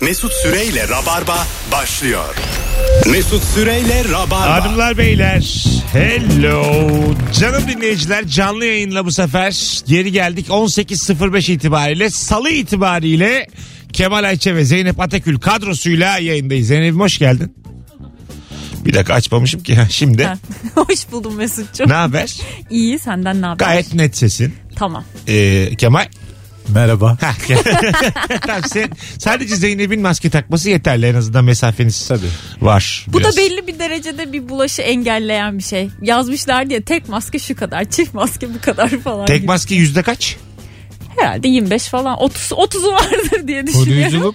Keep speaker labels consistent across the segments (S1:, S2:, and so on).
S1: Mesut Süreyle Rabarba başlıyor. Mesut Süreyle Rabarba.
S2: Hanımlar beyler hello canım dinleyiciler canlı yayınla bu sefer geri geldik 18.05 itibariyle salı itibariyle Kemal Ayçe ve Zeynep Atakül kadrosuyla yayındayız. Zeynep'im hoş geldin. Bir dakika açmamışım ki ha, şimdi.
S3: Ha. Hoş buldum Mesut'cum.
S2: ne haber?
S3: İyi senden ne haber?
S2: Gayet net sesin.
S3: Tamam.
S2: Ee, Kemal.
S4: Merhaba.
S2: Hah, tamam, sen, sadece Zeynep'in maske takması yeterli en azından mesafeniz
S4: Tabii.
S2: var.
S3: Bu
S2: biraz.
S3: da belli bir derecede bir bulaşı engelleyen bir şey. Yazmışlar diye tek maske şu kadar, çift maske bu kadar falan.
S2: Tek
S3: gibi.
S2: maske yüzde kaç?
S3: Herhalde 25 falan. 30 30'u vardır diye düşünüyorum.
S4: Koruyuculuk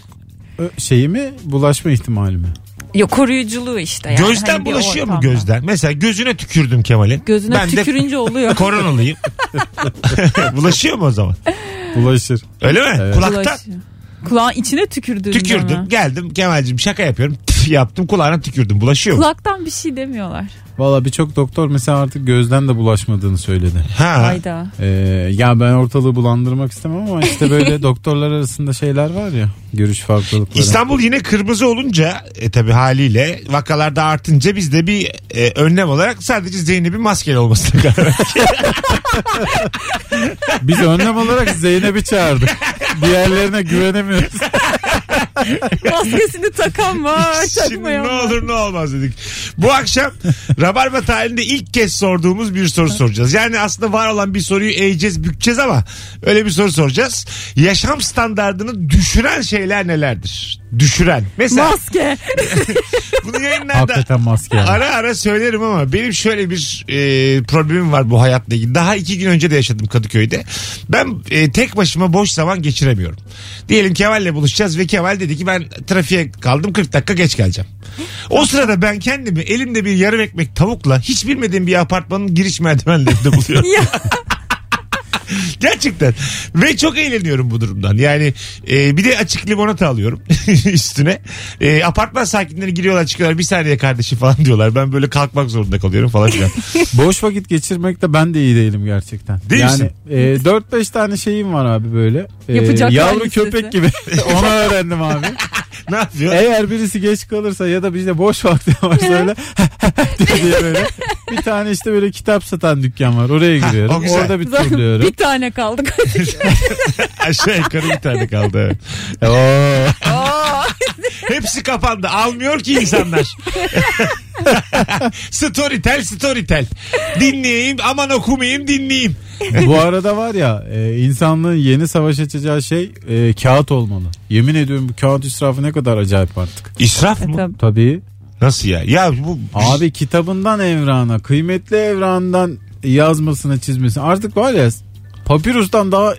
S4: ö, şeyi mi bulaşma ihtimali mi?
S3: Yok koruyuculuğu işte yani.
S2: Gözden
S3: Hani bir
S2: bulaşıyor mu
S3: ortamda.
S2: gözden? Mesela gözüne tükürdüm Kemal'in.
S3: Gözüne
S2: ben
S3: tükürünce
S2: de
S3: oluyor.
S2: koronalıyım. bulaşıyor mu o zaman?
S4: Bulaşır.
S2: Öyle mi?
S4: Evet.
S2: Kulaktan
S3: Bulaşıyor. Kulağın içine tükürdüğünden.
S2: tükürdüm.
S3: ha.
S2: Geldim Kemal'cim şaka yapıyorum. Püf yaptım kulağına tükürdüm. Bulaşıyor mu?
S3: Kulaktan bir şey demiyorlar.
S4: Valla birçok doktor mesela artık gözden de bulaşmadığını söyledi.
S2: Ha.
S3: Hayda.
S4: Ee, ya ben ortalığı bulandırmak istemem ama işte böyle doktorlar arasında şeyler var ya. Görüş farklılıkları.
S2: İstanbul yine kırmızı olunca e, tabi haliyle vakalarda artınca biz de bir e, önlem olarak sadece Zeynep'in maskeli olmasına karar verdik.
S4: Biz önlem olarak Zeynep'i çağırdık. Diğerlerine güvenemiyoruz.
S3: Maskesini takan var,
S2: Şimdi
S3: takmayan
S2: ne
S3: var.
S2: olur ne olmaz dedik. Bu akşam Rabarba tarihinde ilk kez sorduğumuz bir soru soracağız. Yani aslında var olan bir soruyu eğeceğiz, bükeceğiz ama öyle bir soru soracağız. Yaşam standartını düşüren şeyler nelerdir? Düşüren. Mesela
S3: Maske.
S2: bunu yayınlarda
S4: Hakikaten maske. yani.
S2: Ara ara söylerim ama benim şöyle bir e, problemim var bu hayatla ilgili. Daha iki gün önce de yaşadım Kadıköy'de. Ben e, tek başıma boş zaman geçiremiyorum. Diyelim Kemal'le buluşacağız ve Kemal dedi ki ben trafiğe kaldım 40 dakika geç geleceğim. O sırada ben kendimi elimde bir yarım ekmek tavukla hiç bilmediğim bir apartmanın giriş merdivenlerinde buluyorum.
S3: Ya.
S2: Gerçekten. Ve çok eğleniyorum bu durumdan. Yani e, bir de açık limonata alıyorum üstüne. E, apartman sakinleri giriyorlar çıkıyorlar bir saniye kardeşi falan diyorlar. Ben böyle kalkmak zorunda kalıyorum falan filan.
S4: Boş vakit geçirmekte ben de iyi değilim gerçekten.
S2: Değil
S4: yani
S2: misin?
S4: e, 4-5 tane şeyim var abi böyle. E,
S3: Yapacaklar
S4: yavru
S3: listesi.
S4: köpek gibi. Onu öğrendim abi.
S2: ne yapıyor?
S4: Eğer birisi geç kalırsa ya da bizde boş vakti varsa öyle diye böyle. Bir tane işte böyle kitap satan dükkan var. Oraya
S2: Ha,
S4: giriyorum.
S2: o güzel.
S4: Orada bir
S3: Zaten
S4: turluyorum.
S3: bir tane kaldı.
S2: Aşağı yukarı bir tane kaldı.
S4: Oo.
S3: Aa.
S2: Hepsi kapandı. Almıyor ki insanlar. storytel storytel. Dinleyeyim aman okumayayım dinleyeyim.
S4: Bu arada var ya e, insanlığın yeni savaş açacağı şey e, kağıt olmalı. Yemin ediyorum bu kağıt israfı ne kadar acayip artık.
S2: İsraf mı?
S3: E, Tabii.
S4: E, Tabii.
S2: Nasıl ya? Ya bu
S4: Abi kitabından evrana, kıymetli evrandan yazmasına çizmesine. Artık var ya papirustan daha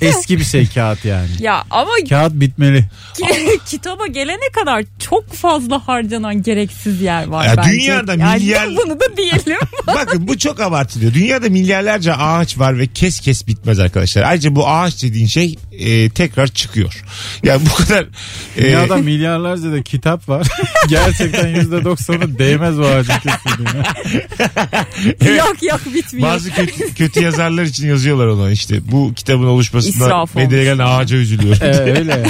S4: eski bir şey kağıt yani.
S3: Ya ama
S4: Kağıt bitmeli.
S3: ki- kitaba gelene kadar çok fazla harcanan gereksiz yer var
S2: Ya
S3: bence.
S2: dünyada milyar-
S3: Yani bunu da diyelim.
S2: Bakın bu çok abartılıyor. Dünyada milyarlarca ağaç var ve kes kes bitmez arkadaşlar. Ayrıca bu ağaç dediğin şey e, tekrar çıkıyor. Yani bu kadar e,
S4: Dünyada milyarlarca da kitap var. Gerçekten yüzde doksanı değmez o ağacın kesildiğine.
S3: Yak yak bitmiyor.
S2: bazı kötü, kötü yazarlar için yazıyorlar ona işte. Bu kitabın oluşmasında
S3: İsraf
S2: medyaya gelen ağaca üzülüyor.
S4: Ee, öyle.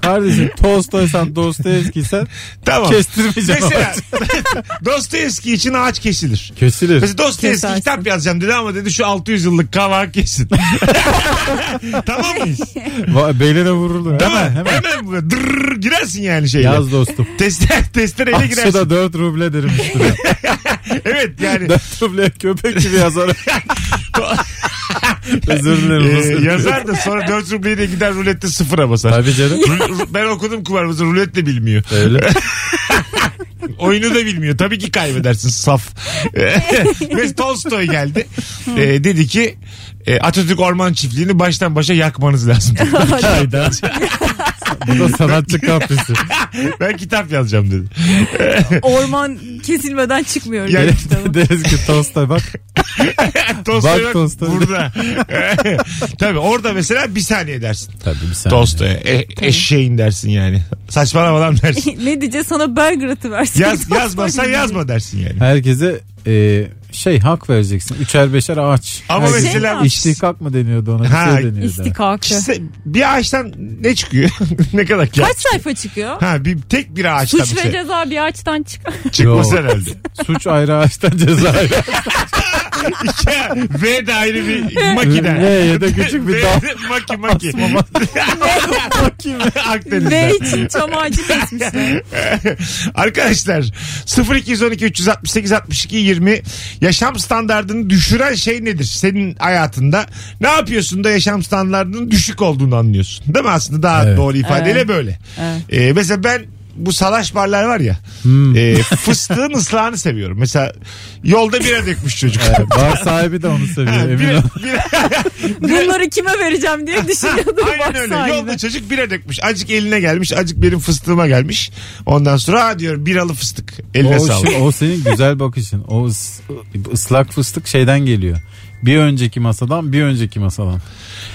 S4: Kardeşim Tolstoy'san Dostoyevski'sen
S2: tamam.
S4: kestirmeyeceğim
S2: Mesela
S4: ağacı.
S2: Dostoyevski için ağaç kesilir.
S4: Kesilir.
S2: Mesela Dostoyevski
S3: Kesersin.
S2: kitap yazacağım dedi ama dedi şu 600 yıllık kavağı kesin. tamam mıyız?
S4: Va- Beline vururdu. Hemen hemen.
S2: Hemen bu- dırrrr girersin yani şeyle.
S4: Yaz dostum.
S2: Tester, testereyle girersin.
S4: Aksu'da 4 ruble derim üstüne.
S2: Evet yani.
S4: 4 ruble köpek gibi yazarım. Özür dilerim.
S2: Ee,
S4: özür dilerim.
S2: yazar da sonra 4 rubleye de gider rulette sıfıra basar.
S4: Tabii canım.
S2: Ru- ru- ben okudum kumarbazı rulet de bilmiyor.
S4: Öyle.
S2: Oyunu da bilmiyor. Tabii ki kaybedersin saf. Ve Tolstoy geldi. Ee, dedi ki e, Atatürk Orman Çiftliği'ni baştan başa yakmanız lazım.
S4: Hayda. Bu da sanatçı kaprisi.
S2: ben kitap yazacağım dedi.
S3: Orman kesilmeden çıkmıyor.
S2: Ya-
S3: diyor kitabı.
S4: Deriz ki Tolstoy bak.
S2: Tolstoy
S4: Bak
S2: bak,
S4: Tolstoy.
S2: burada. Tabii orada mesela bir saniye dersin.
S4: Tabii bir saniye.
S2: Tolstoy eşeğin dersin yani. Saçmalama lan dersin.
S3: ne diyeceğiz sana burger atıversin.
S2: Yaz, yazmazsan yazma dersin yani.
S4: Herkese e, şey hak vereceksin. Üçer beşer ağaç.
S2: Ama
S4: Herkes-
S2: mesela-
S4: İstihkak mı deniyordu ona? Bir
S2: Ha,
S4: şey deniyordu.
S3: İstikakı.
S2: İşte bir ağaçtan ne çıkıyor? ne kadar kağıt?
S3: Kaç sayfa çıkıyor?
S2: Ha bir tek bir ağaçtan
S3: Suç
S2: bir
S3: ve
S2: şey.
S3: ceza bir ağaçtan çıkar.
S2: Çıkmaz
S4: Yok.
S2: herhalde.
S4: Suç ayrı ağaçtan ceza ayrı.
S2: Ya, v de ayrı bir makine.
S4: Ne ya da küçük
S2: V
S4: bir dal.
S2: de maki maki.
S3: ve
S2: Akdeniz'den.
S3: için çam ağacı kesmişler.
S2: Arkadaşlar 0212 368 62 20 yaşam standartını düşüren şey nedir? Senin hayatında ne yapıyorsun da yaşam standartının düşük olduğunu anlıyorsun. Değil mi aslında daha
S4: Evet.
S2: doğru ifadeyle böyle. Ee, mesela ben bu salaş barlar var ya
S4: Hmm.
S2: e, fıstığın ıslahını seviyorum. Mesela yolda bira dökmüş çocuk.
S4: Bar sahibi de onu seviyor
S2: Ha,
S4: emin
S2: bira-
S4: ol.
S2: bira-
S3: Bunları kime vereceğim diye düşünüyordum.
S2: Aynen
S3: varsa
S2: öyle.
S3: aynı.
S2: Yolda çocuk bira dökmüş. Acık eline gelmiş. Acık benim fıstığıma gelmiş. Ondan sonra ha diyor biralı fıstık. Eline
S4: O,
S2: sağlık.
S4: şimdi o senin güzel bakışın. O ıs- ıslak fıstık şeyden geliyor. Bir önceki masadan bir önceki masadan.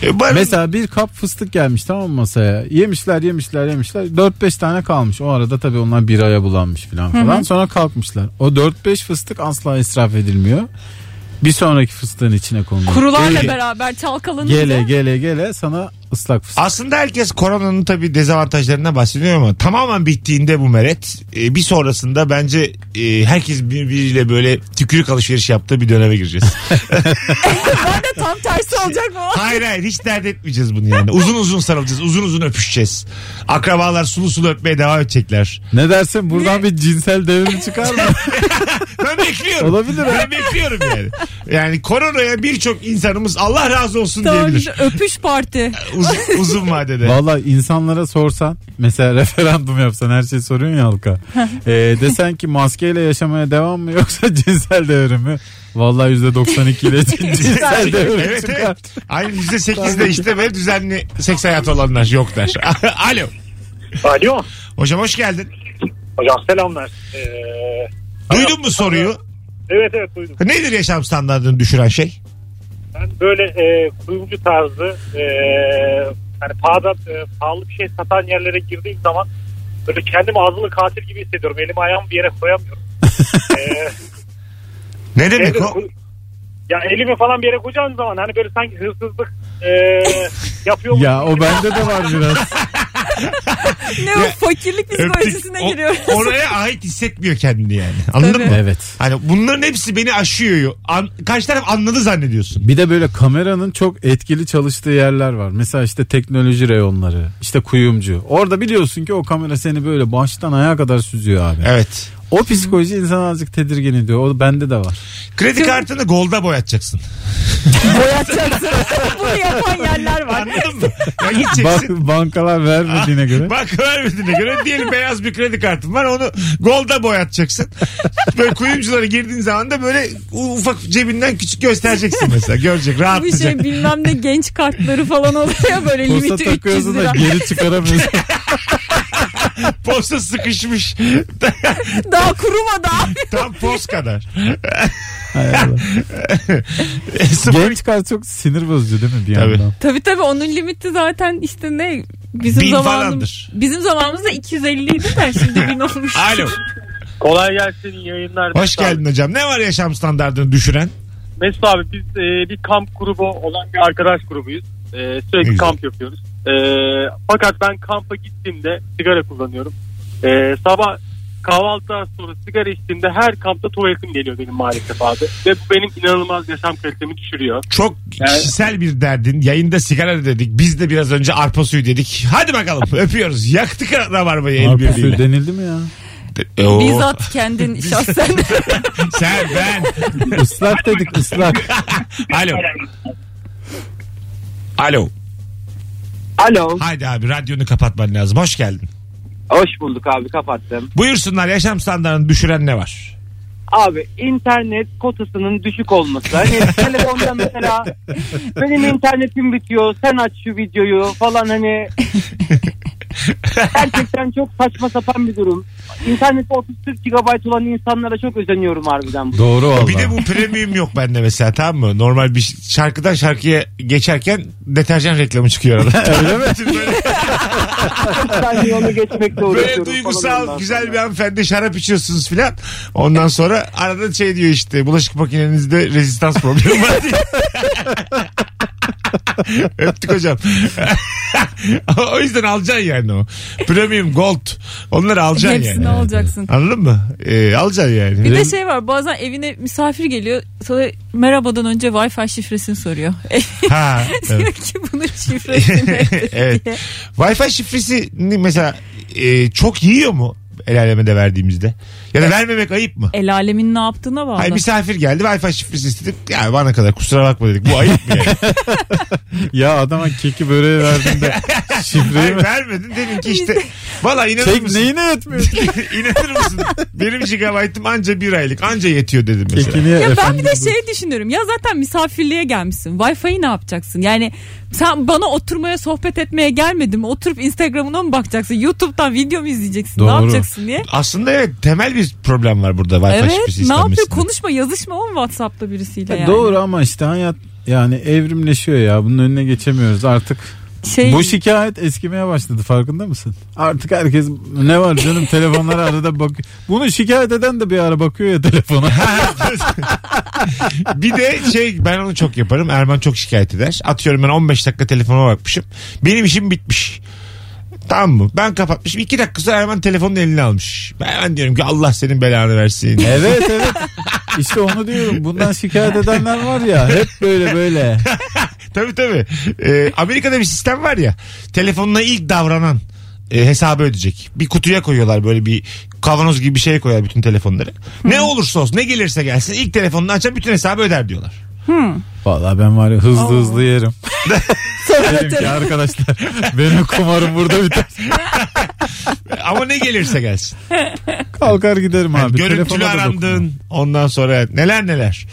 S2: E, bana-
S4: Mesela bir kap fıstık gelmiş tamam mı masaya. Yemişler yemişler yemişler. 4-5 tane kalmış. O arada tabii onlar biraya bulanmış falan falan. Sonra kalkmışlar. O 4-5 fıstık asla israf edilmiyor. Bir sonraki fıstığın içine konuluyor.
S3: Kurularla
S2: Gele.
S3: beraber çalkalanınca.
S4: Gele gele gele sana ıslak fıstık.
S2: aslında herkes koronanın tabii dezavantajlarına bahsediyor ama tamamen bittiğinde bu meret e, bir sonrasında bence e, herkes birbiriyle böyle tükürük alışverişi yaptığı bir döneme gireceğiz.
S3: Ben de tam tersi olacak mı?
S2: hayır hayır hiç dert etmeyeceğiz bunu yani. Uzun uzun sarılacağız. Uzun uzun öpüşeceğiz. Akrabalar sulu sulu öpmeye devam edecekler.
S4: Ne dersin buradan bir cinsel devrim çıkar mı?
S2: Ben bekliyorum.
S4: Olabilir ha.
S2: Ben bekliyorum yani. Yani koronaya birçok insanımız Allah razı olsun
S3: Tamam,
S2: diyebilir.
S3: öpüş parti.
S2: Uzun, uzun vadede.
S4: Valla insanlara sorsan mesela referandum yapsan her şeyi soruyorsun ya halka. Ee, desen ki maskeyle yaşamaya devam mı yoksa cinsel devrim mi? Valla %92 ile cinsel devrim
S2: Evet
S4: çıkar.
S2: evet. Aynı %8'de işte böyle düzenli seks hayatı olanlar yok der. Alo.
S5: Alo.
S2: Hocam hoş geldin.
S5: Hocam selamlar. Ee,
S2: Duydun mu soruyu?
S5: evet evet duydum.
S2: Nedir yaşam standartını düşüren şey?
S5: Ben böyle e, kuyumcu tarzı e, yani pahada, e, pahalı bir şey satan yerlere girdiğim zaman böyle kendimi azılı katil gibi hissediyorum. Elimi ayağımı bir yere koyamıyorum. Ee,
S2: Ne
S5: şey de
S2: demek o?
S5: kuy- ya elimi falan bir yere koyacağım zaman hani böyle sanki hırsızlık e, yapıyor
S4: Ya o bende de var biraz.
S3: Ne o fakirlik psikolojisine
S2: O-
S3: giriyoruz.
S2: oraya ait hissetmiyor kendini yani. Anladın
S3: Tabii.
S2: mı?
S4: evet.
S2: Hani bunların hepsi beni aşıyor. An, karşı taraf anladı zannediyorsun.
S4: Bir de böyle kameranın çok etkili çalıştığı yerler var. Mesela işte teknoloji reyonları, işte kuyumcu. Orada biliyorsun ki o kamera seni böyle baştan ayağa kadar süzüyor abi.
S2: Evet.
S4: O psikoloji insanı azıcık tedirgin ediyor. O bende de var.
S2: Kredi kartını golda boyatacaksın.
S3: Boyatacaksın. Bunu yapan yerler var.
S2: Anladın mı? Ya
S4: Bak,
S2: gideceksin.
S4: bankalar vermediğine göre.
S2: Bak vermediğine göre diyelim beyaz bir kredi kartın var onu golda boyatacaksın. Böyle kuyumculara girdiğin zaman da böyle u- ufak cebinden küçük göstereceksin mesela. Görecek
S3: Bu
S2: rahatlayacak.
S3: şey bilmem ne genç kartları falan oluyor ya böyle
S4: Posta
S3: limiti 300
S4: takıyorsun da
S3: lira.
S4: geri çıkaramıyorsun.
S2: Posta sıkışmış.
S3: Daha kurumadan.
S2: Tam post kadar.
S4: Hay Allah.
S2: Sıfır-
S4: Genç kar çok sinir bozucu değil mi bir
S2: Tabii.
S4: yandan?
S3: tabii tabii onun limiti zaten işte ne bizim
S2: Bin
S3: zamanımız
S2: falandır.
S3: bizim zamanımızda 250 idi de şimdi bin olmuş.
S2: Alo.
S5: Kolay gelsin yayınlar.
S2: Hoş geldin hocam. Ne var yaşam standartını düşüren?
S5: Mesut abi biz e, bir kamp grubu olan bir arkadaş grubuyuz. E, sürekli
S2: Ne güzel.
S5: kamp yapıyoruz. E, fakat ben kampa gittiğimde sigara kullanıyorum. E, sabah kahvaltıdan sonra sigara içtiğimde her kampta tuvaletim geliyor benim maalesef abi. Ve bu benim inanılmaz yaşam kalitemi düşürüyor.
S2: Çok
S5: Yani-
S2: kişisel bir derdin. Yayında sigara da dedik. Biz de biraz önce arpa suyu dedik. Hadi bakalım öpüyoruz. Yaktık rabarbayı el
S4: Abi
S2: birliğiyle.
S4: sür denildi mi ya?
S2: Oo.
S3: Bizzat kendin şahsen.
S2: Sen ben.
S4: Islak dedik ıslak.
S2: Alo. Alo.
S6: Alo.
S2: Haydi abi radyonu kapatman lazım. Hoş geldin.
S6: Hoş bulduk abi kapattım.
S2: Buyursunlar yaşam standartını düşüren ne var?
S6: Abi internet kotasının düşük olması. Hani telefonda mesela benim internetim bitiyor sen aç şu videoyu falan hani. Gerçekten çok saçma sapan bir durum. İnternette 30-40 GB olan insanlara çok özeniyorum harbiden. bu.
S4: Doğru valla.
S2: Bir de bu premium yok bende mesela tamam mı? Normal bir şarkıdan şarkıya geçerken deterjan reklamı çıkıyor arada.
S4: Öyle mi?
S2: Böyle-
S6: ben de onu geçmekle uğraşıyorum.
S2: Böyle
S6: falan
S2: duygusal
S6: ondan
S2: güzel
S6: sonra.
S2: bir hanımefendi şarap içiyorsunuz filan. Ondan sonra arada şey diyor işte bulaşık makinenizde rezistans problemi var diye. Öptük hocam. o yüzden alacaksın yani o. Premium, gold. Onları alacaksın
S3: Hepsini
S2: yani.
S3: alacaksın.
S2: Anladın mı? Ee, alacaksın yani.
S3: Bir de şey var bazen evine misafir geliyor sana merhabadan önce Wi-Fi şifresini soruyor.
S2: Ha, evet.
S3: Diyor ki bunun şifresi nedir
S2: evet.
S3: diye.
S2: Wi-Fi şifresini mesela e, çok yiyor mu el alemede verdiğimizde? Ya da vermemek ayıp mı?
S3: El alemin ne yaptığına bağlı.
S2: Hayır şey- misafir geldi Wi-Fi şifresi istedik. Ya bana kadar kusura bakma dedik. Bu ayıp mı yani?
S4: ya adama keki böreği verdin de şifreyi
S2: Hayır,
S4: mi?
S2: vermedin dedin ki işte. Valla inanır
S4: Kek
S2: mısın?
S4: neyine yetmiyor?
S2: inanır mısın? Benim gigabaytım anca bir aylık anca yetiyor dedim mesela.
S4: Kekini
S3: Ya ben bir
S4: efendim
S3: de şey düşünüyorum. Ya zaten misafirliğe gelmişsin. Wi-Fi'yi ne yapacaksın? Yani sen bana oturmaya sohbet etmeye gelmedin mi? Oturup Instagram'ına mı bakacaksın? YouTube'dan video mu izleyeceksin? Ne
S4: Doğru.
S3: yapacaksın diye.
S2: Aslında evet temel bir problem var burada Wi-Fi
S3: Evet
S2: şifresi
S3: ne yapıyor
S2: istenmesinde.
S3: konuşma yazışma mı Whatsapp'ta birisiyle
S4: Ya
S3: yani.
S4: Doğru ama işte hayat yani evrimleşiyor ya. Bunun önüne geçemiyoruz artık.
S3: Şey,
S4: Bu şikayet eskimeye başladı farkında mısın? Artık herkes ne var canım telefonlara arada bak. Bunu şikayet eden de bir ara bakıyor ya telefona.
S2: bir de şey ben onu çok yaparım. Erman çok şikayet eder. Atıyorum ben 15 dakika telefonuma bakmışım. Benim işim bitmiş. Tamam mı? Ben kapatmışım. 2 dakika sonra Erman telefonun elini almış. Ben hemen diyorum ki Allah senin belanı versin.
S4: evet evet. İşte onu diyorum. Bundan şikayet edenler var ya. Hep böyle böyle.
S2: tabii tabii. Ee, Amerika'da bir sistem var ya. Telefonuna ilk davranan e, hesabı ödeyecek. Bir kutuya koyuyorlar böyle bir kavanoz gibi bir şey koyar bütün telefonları. Ne olursa olsun ne gelirse gelsin ilk telefonunu açan bütün hesabı öder diyorlar.
S4: Vallahi ben var ya hızlı hızlı yerim.
S3: Sonra
S4: Derim ki
S3: tabii-
S4: arkadaşlar benim kumarım burada biter.
S2: Ama ne gelirse gelsin.
S4: Kalkar giderim
S2: Yani
S4: abi.
S2: görüntülü
S4: Telefona da dokunmam.
S2: arandın. Ondan sonra neler neler.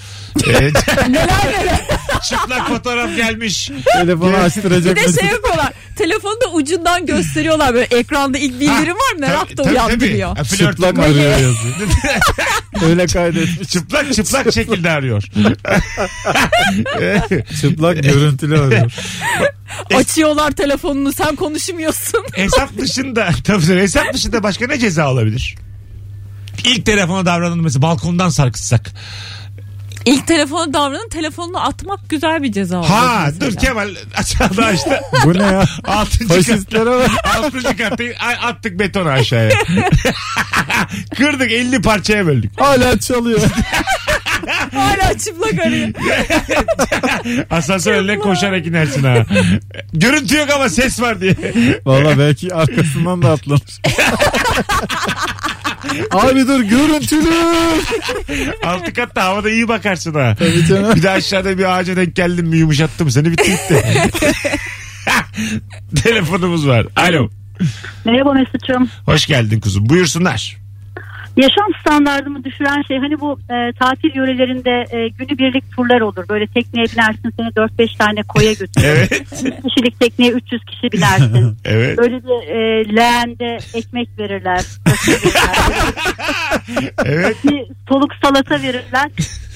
S2: neler neler. Çıplak fotoğraf gelmiş.
S4: Telefonu açtıracak.
S3: bir de
S4: mısın?
S3: şey yapıyorlar. Telefonu da ucundan gösteriyorlar böyle ekranda ilk bildirim var mı? Merak da
S2: Tabii, tabii.
S3: uyandırıyor.
S4: E,
S2: Ha, flört.
S4: Çıplak arıyor yazıyor. Öyle kaydetmiş.
S2: Çıplak çıplak şekilde arıyor.
S4: Çıplak görüntülü arıyor.
S3: Açıyorlar telefonunu sen konuşmuyorsun.
S2: hesap dışında tabii tabii, hesap dışında başka ne ceza olabilir? İlk telefona davranın mesela balkondan sarkıtsak.
S3: İlk telefona davranın telefonunu atmak güzel bir ceza olur.
S2: Ha
S3: mesela.
S2: dur Kemal aşağıda açtı.
S4: Bu ne ya?
S2: Altıncı kat.
S4: Faşistlere bak.
S2: Altıncı kattayız. Ay, Attık betonu aşağıya. Kırdık 50 parçaya böldük.
S4: Hala çalıyor.
S3: Hala çıplak arıyor.
S2: Asansör önüne koşarak inersin ha. Görüntü yok ama ses var diye.
S4: Valla belki arkasından da atlanır. Abi dur görüntülü.
S2: Altı katta havada iyi bakarsın ha.
S4: Tabii canım.
S2: Bir de aşağıda bir ağaca denk geldim mi yumuşattım seni bitti gitti. Telefonumuz var. Alo.
S7: Merhaba Mesut'cum.
S2: Hoş geldin kuzum. Buyursunlar.
S7: Yaşam standartımı düşüren şey hani bu e, tatil yörelerinde e, günübirlik turlar olur. Böyle tekneye binersin seni 4-5 tane koya götürür.
S2: Evet.
S7: Kişilik tekneye 300 kişi binersin.
S2: Evet.
S7: Böyle bir e, leğende ekmek verirler.
S2: Evet.
S7: bir soluk salata verirler.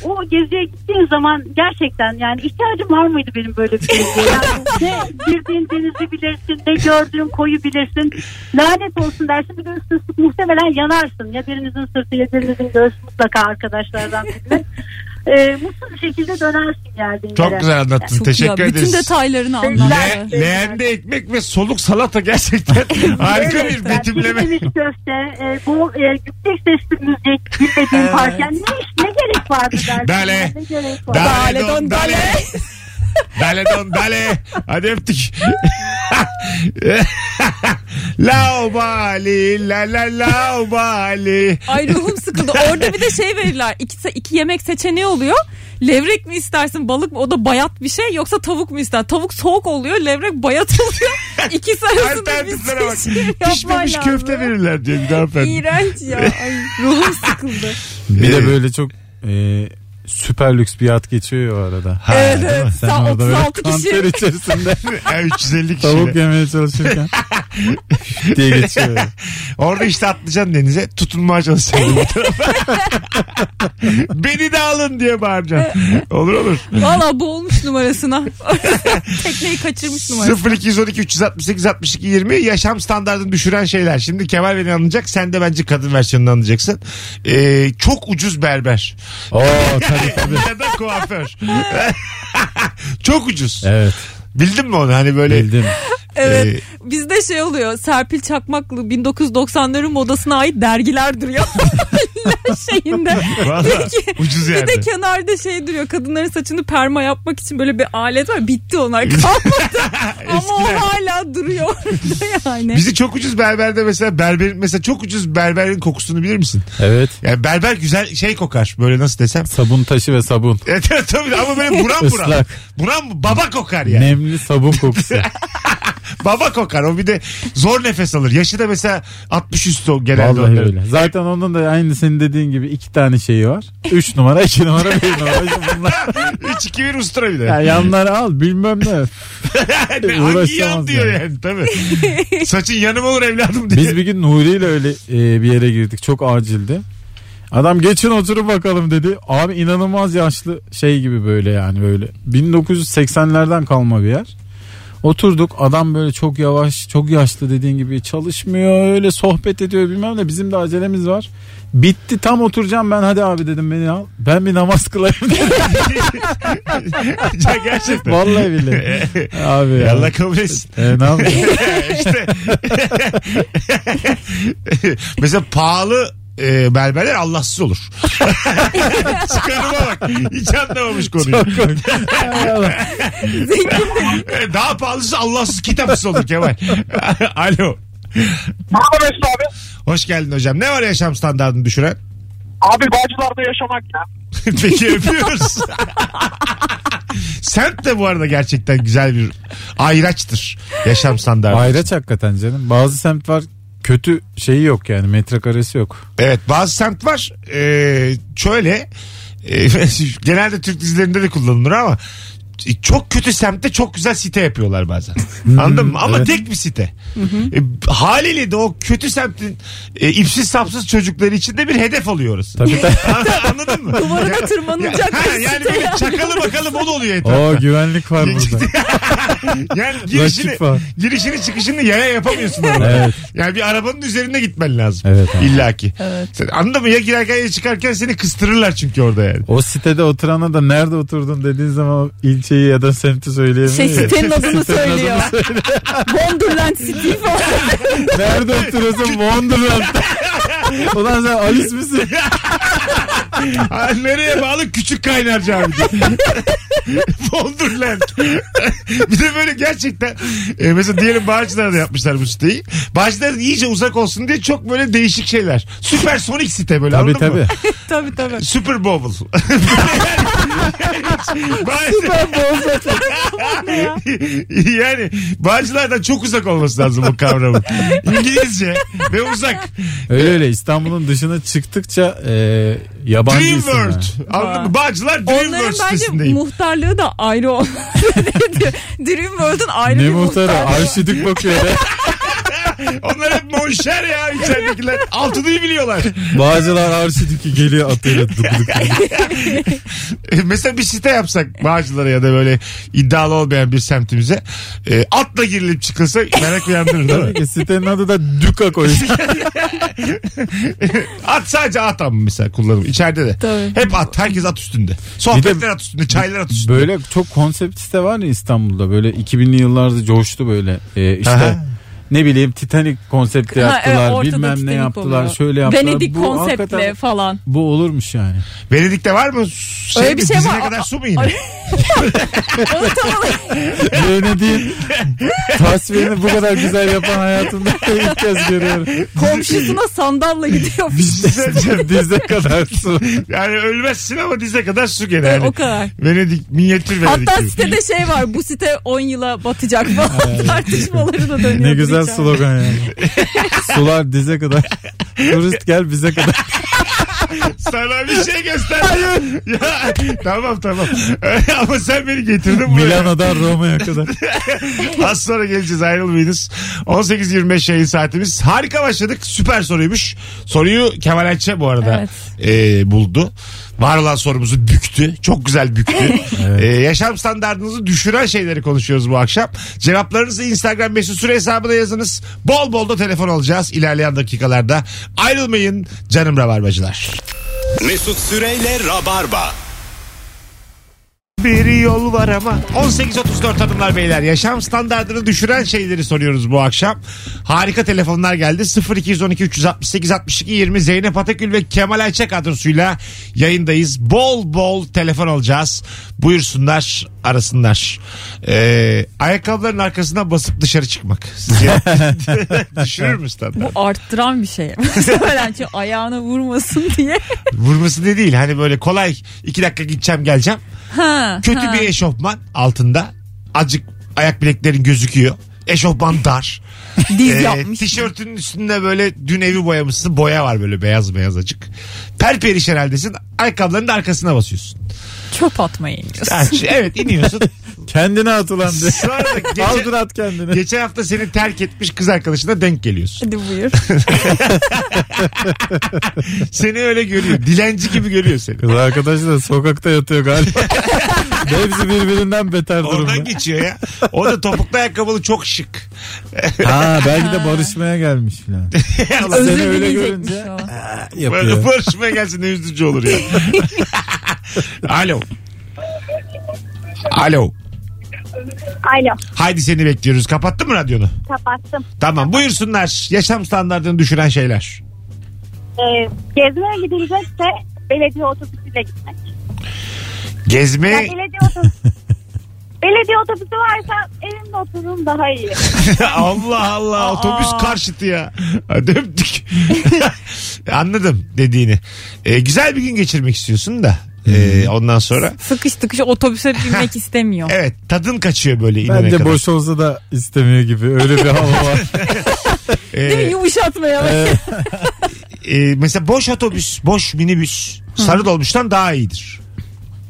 S7: O geziye gittiğin zaman gerçekten yani ihtiyacım var mıydı benim böyle bir geziye? Yani ne girdiğin denizi bilirsin, ne gördüğün koyu bilirsin. Lanet olsun dersin bir de üst üstlük muhtemelen yanarsın. Ya birinizin sırtı ya birinizin göğsü mutlaka arkadaşlardan birine. Ee, mutlu bir şekilde dönersin geldiğin
S2: Çok
S7: yere.
S2: güzel anlattın.
S3: Çok
S2: Teşekkür
S3: iyi.
S2: ederiz.
S3: Bütün detaylarını
S2: Le-
S3: anlattı.
S2: leğende ekmek ve soluk salata gerçekten harika bir
S7: Yani
S2: betimleme.
S7: pişmemiş köfte, e, bu e, yüksek sesli müzik, bilmediğin parça. Ne, iş- ne gerek vardı dersin.
S2: Dale.
S7: Ne gerek vardı?
S2: Dale
S3: Dale
S2: don
S3: don
S2: dale. Dale don dale. Hadi öptük. lao bali la la lao bali.
S3: Ay ruhum sıkıldı. Orada bir de şey verirler. İki, se- iki yemek seçeneği oluyor. Levrek mi istersin balık mı? O da bayat bir şey. Yoksa tavuk mu ister? Tavuk soğuk oluyor. Levrek bayat oluyor. İkisi arasında bir
S2: Alternatiflere bak.
S3: seçim yapman
S2: Pişmemiş
S3: lazım.
S2: köfte verirler diyor bir hanımefendi.
S4: Ee,
S3: İğrenç ya. Ay, ruhum sıkıldı.
S4: Bir de böyle çok e, süper lüks bir yat geçiyor ya o arada.
S2: Ha,
S3: Evet,
S4: Değil mi?
S3: evet.
S4: Sen
S3: Sa-
S4: orada böyle
S3: 36 kişi.
S4: kanter içerisinde
S2: Ha, 350
S4: tavuk
S2: kişiyle.
S4: yemeye çalışırken diye geçiyor.
S2: Orada işte atlayacaksın denize tutunmaya çalışacaksın. Beni de alın diye bağıracaksın. Olur olur.
S3: Valla boğulmuş numarasına. Tekneyi kaçırmış numarasına.
S2: 0212 368 62 20 yaşam standartını düşüren şeyler. Şimdi Kemal beni anlayacak. Sen de bence kadın versiyonunu anlayacaksın. Ee, çok ucuz berber.
S4: Oo tabii tabii.
S2: ya da kuaför. çok ucuz.
S4: Evet
S2: Bildin mi onu? Hani böyle
S4: bildim.
S3: Evet.
S2: e,
S3: Bizde şey oluyor. Serpil Çakmaklı 1990'ların modasına ait dergiler duruyor. şeyinde.
S2: Valla ucuz
S3: Bir
S2: yerde.
S3: de kenarda şey duruyor. Kadınların saçını perma yapmak için böyle bir alet var. Bitti onlar kalmadı. Ama o
S2: Eskiler.
S3: hala duruyor orada yani.
S2: Bizi çok ucuz berberde mesela berberin mesela çok ucuz berberin kokusunu bilir misin?
S4: Evet.
S2: Yani berber güzel şey kokar böyle nasıl desem.
S4: Sabun taşı ve sabun.
S2: Evet evet, tabii ama böyle buram buram.
S4: Islak.
S2: Buram baba kokar yani.
S4: Nemli sabun kokusu.
S2: Baba kokar o bir de zor nefes alır. Yaşı da mesela 60 üstü o genelde.
S4: Vallahi
S2: onların.
S4: öyle. Zaten onun da aynı senin dediğin gibi iki tane şeyi var. Üç numara, iki numara, bir numara. İşte Bunlar,
S2: 3 2 1 ustura bir de.
S4: ya yanları al bilmem ne.
S2: Ne, Hangi yan
S4: uğraşamaz
S2: diyor yani,
S4: yani.
S2: tabii. Saçın yanım olur evladım diye.
S4: Biz bir gün Nuri ile öyle e, bir yere girdik. Çok acildi. Adam geçin oturun bakalım dedi. Abi inanılmaz yaşlı şey gibi böyle yani böyle. 1980'lerden kalma bir yer. Oturduk adam böyle çok yavaş çok yaşlı dediğin gibi çalışmıyor öyle sohbet ediyor bilmem ne bizim de acelemiz var. Bitti tam oturacağım ben hadi abi dedim beni al. Ben bir namaz kılayım dedim.
S2: Ya gerçekten.
S4: Vallahi billahi. Abi ya.
S2: Allah kabul etsin.
S4: E, ne yapayım?
S2: işte. Mesela pahalı e, berberler Allahsız olur. Çıkarıma bak. Hiç anlamamış konuyu. E, Daha pahalısı Allahsız kitapsız olur Kemal. Alo.
S5: Merhaba Mesut abi.
S2: Hoş geldin hocam. Ne var yaşam standartını düşüren?
S5: Abi Bağcılar'da yaşamak ya.
S2: Peki öpüyoruz. Sent de bu arada gerçekten güzel bir ayraçtır yaşam standartı.
S4: Ayraç hakikaten canım. Bazı semt var kötü şeyi yok yani metrekaresi yok.
S2: Evet bazı semt var. Ee, şöyle e, genelde Türk dizilerinde de kullanılır ama çok kötü semtte çok güzel site yapıyorlar bazen. Anladın mı? Ama
S4: Hmm, evet.
S2: tek bir site. E, haliyle de o kötü semtin e, ipsiz sapsız çocukları için de bir hedef alıyoruz.
S4: Tabii tabii.
S2: Anladın mı?
S3: Duvara da
S2: Ya-
S3: tırmanılacak.
S2: ha, yani böyle çakalı bakalı bol oluyor etrafta.
S4: Oo güvenlik var burada.
S2: Yani girişini,
S4: Rakip var.
S2: girişini çıkışını yaya yapamıyorsun orada.
S4: Evet.
S2: Yani bir arabanın üzerinde gitmen lazım.
S4: Evet abi.
S2: İllaki. Sen anladın mı? Ya girerken ya çıkarken seni kıstırırlar çünkü orada yani.
S4: O sitede oturana da nerede oturdun dediğin zaman o ilçeyi ya da semti söyleyemiyor.
S3: Şey
S4: ya.
S3: sitenin adını
S4: Sitenin adını
S3: söylüyor.
S4: söyle.
S3: Wonderland City falan.
S4: nerede oturuyorsun Wonderland'da. Ulan sen Alice misin?
S2: Ha, nereye bağlı? Küçük kaynarca abi. Wonderland. bir de böyle gerçekten e, mesela diyelim Bağcılar'da yapmışlar bu siteyi. Bağcılar'dan iyice uzak olsun diye çok böyle değişik şeyler. Süpersonik site böyle
S4: tabii
S2: anladın mı?
S4: tabii.
S3: tabii tabii.
S2: Super Bowl. Super Bowl. yani Bağcılar'dan çok uzak olması lazım bu kavramın. İngilizce ve uzak.
S4: Öyle öyle İstanbul'un dışına çıktıkça e, yabancı
S2: Dream
S4: isimler.
S2: World. Anladın mı? Bağcılar Dream
S3: Onların
S2: World
S3: bence
S2: sitesindeyim.
S3: muhtarlığı da ayrı olmalı. Dream World'un ayrı
S4: Ne
S3: bir
S4: muhtarı
S3: muhtarlığı.
S4: arşidik bakıyor. ya.
S2: Onlar hep monşer ya içeridekiler. Altınıyı biliyorlar.
S4: Bağcılar arşidiki geliyor atıyla dık dık.
S2: E, Mesela bir site yapsak Bağcılar'a ya da böyle iddialı olmayan bir semtimize. E, atla girilip çıkılsa merak uyandırır değil mi?
S4: Tabii ki sitenin adı da Duka koymuş.
S2: At sadece at ama mesela kullanım. İçeride de.
S3: Tabii.
S2: Hep at. Herkes at üstünde. Sohbetler
S4: Bir de-
S2: at üstünde. Çaylar at üstünde.
S4: Böyle çok konsept site var ya İstanbul'da böyle 2000'li yıllarda coştu böyle Ee, işte
S2: Aha.
S4: ne bileyim Titanic konsepti
S3: Ha, evet,
S4: yaptılar
S3: ortada
S4: bilmem ne
S3: Titanic
S4: yaptılar
S3: oluyor.
S4: şöyle yaptılar.
S3: Venedik
S4: Bu
S3: konseptle
S4: hakikaten-
S3: falan.
S4: Bu olurmuş yani.
S2: Venedik'te var mı? Şey
S3: Öyle bir
S2: mi?
S3: şey
S2: Dizine
S3: var.
S2: kadar su mu yine?
S3: Onu tam olarak
S4: Venedik'in tasvirini bu kadar güzel yapan hayatımda ilk kez görüyorum.
S3: komşusuna sandalla gidiyor.
S4: Dize, dize kadar su.
S2: yani ölmezsin ama dize kadar su gene.
S3: Evet,
S2: Yani.
S3: o kadar.
S2: Venedik, minyatür Venedik.
S3: Hatta
S2: gibi.
S3: sitede şey var bu site 10 yıla batacak falan tartışmaları da dönüyor.
S4: Ne güzel slogan yani. Sular dize kadar. Turist gel bize kadar.
S2: Sana bir şey göster. ya, tamam tamam. Ama sen beni getirdin buraya.
S4: Milano'dan Roma'ya kadar.
S2: Az sonra geleceğiz ayrılmayınız. 18.25 yayın saatimiz. Harika başladık. Süper soruymuş. Soruyu Kemal Ayça bu arada e, buldu. Var olan sorumuzu büktü. Çok güzel büktü. E, yaşam standartınızı düşüren şeyleri konuşuyoruz bu akşam. Cevaplarınızı Instagram mesut süre hesabına yazınız. Bol bol da telefon alacağız ilerleyen dakikalarda. Ayrılmayın canım rabarbacılar.
S1: Mesut Süreyle Rabarba.
S2: Bir yol var ama. 18.34 hanımlar beyler. Yaşam standartını düşüren şeyleri soruyoruz bu akşam. Harika telefonlar geldi. 0212 368 62 20 Zeynep Atakül ve Kemal Ayça kadrosuyla yayındayız. Bol bol telefon alacağız. Buyursunlar arasınlar. Ee, ayakkabıların arkasına basıp dışarı çıkmak. Sizce düşürür mü standart?
S3: Bu arttıran bir şey. Muhtemelen çünkü ayağına vurmasın diye.
S2: Vurması ne değil. Hani böyle kolay iki dakika gideceğim geleceğim.
S3: Ha,
S2: Kötü
S3: ha.
S2: bir eşofman altında. Acık ayak bileklerin gözüküyor. Eşofman dar.
S3: diz
S2: Ee,
S3: yapmış.
S2: tişörtünün üstünde böyle dün evi boyamışsın. Boya var böyle beyaz beyaz acık. Perperiş herhaldesin. Ayakkabılarının da arkasına basıyorsun.
S3: Çöp atmaya iniyorsun.
S2: Ha, şey- evet iniyorsun.
S4: Kendine atılan diye.
S2: Sonra da
S4: Al dur
S2: geçen,
S4: at kendini.
S2: geçen hafta seni terk etmiş kız arkadaşına denk geliyorsun.
S3: Hadi buyur.
S2: Seni öyle görüyor. Dilenci gibi görüyor seni.
S4: Kız arkadaşı da sokakta yatıyor galiba. Hepsi birbirinden beter durumda.
S2: Oradan geçiyor ya. O da topuklu ayakkabılı çok şık.
S4: Ha belki de barışmaya gelmiş filan.
S3: Özür
S4: Seni öyle
S3: dileyecekmiş
S4: görünce-
S3: o.
S2: Böyle barışmaya gelsin ne üzücü olur ya. Alo. Alo.
S7: Alo
S2: Haydi seni bekliyoruz. Kapattın mı radyonu?
S7: kapattım.
S2: Tamam buyursunlar. Yaşam standartını düşüren şeyler.
S7: Ee, gezmeye gidilecekse belediye otobüsüyle gitmek. Ya
S2: Gezme.
S7: belediye otobüsü Belediye otobüsü varsa evimde otururum daha iyi.
S2: Allah Allah otobüs karşıtı ya. Hadi öptük. Anladım dediğini. Ee, güzel bir gün geçirmek istiyorsun da. ee, ondan sonra.
S3: Sıkış tıkış otobüse binmek istemiyor.
S2: Evet tadın kaçıyor böyle inene
S4: Bence
S2: kadar.
S4: boş olsa da istemiyor gibi. Öyle bir hava var.
S2: Ee,
S3: Değil mi? Yumuşatmaya.
S2: e, mesela boş otobüs, boş minibüs sarı dolmuştan daha iyidir.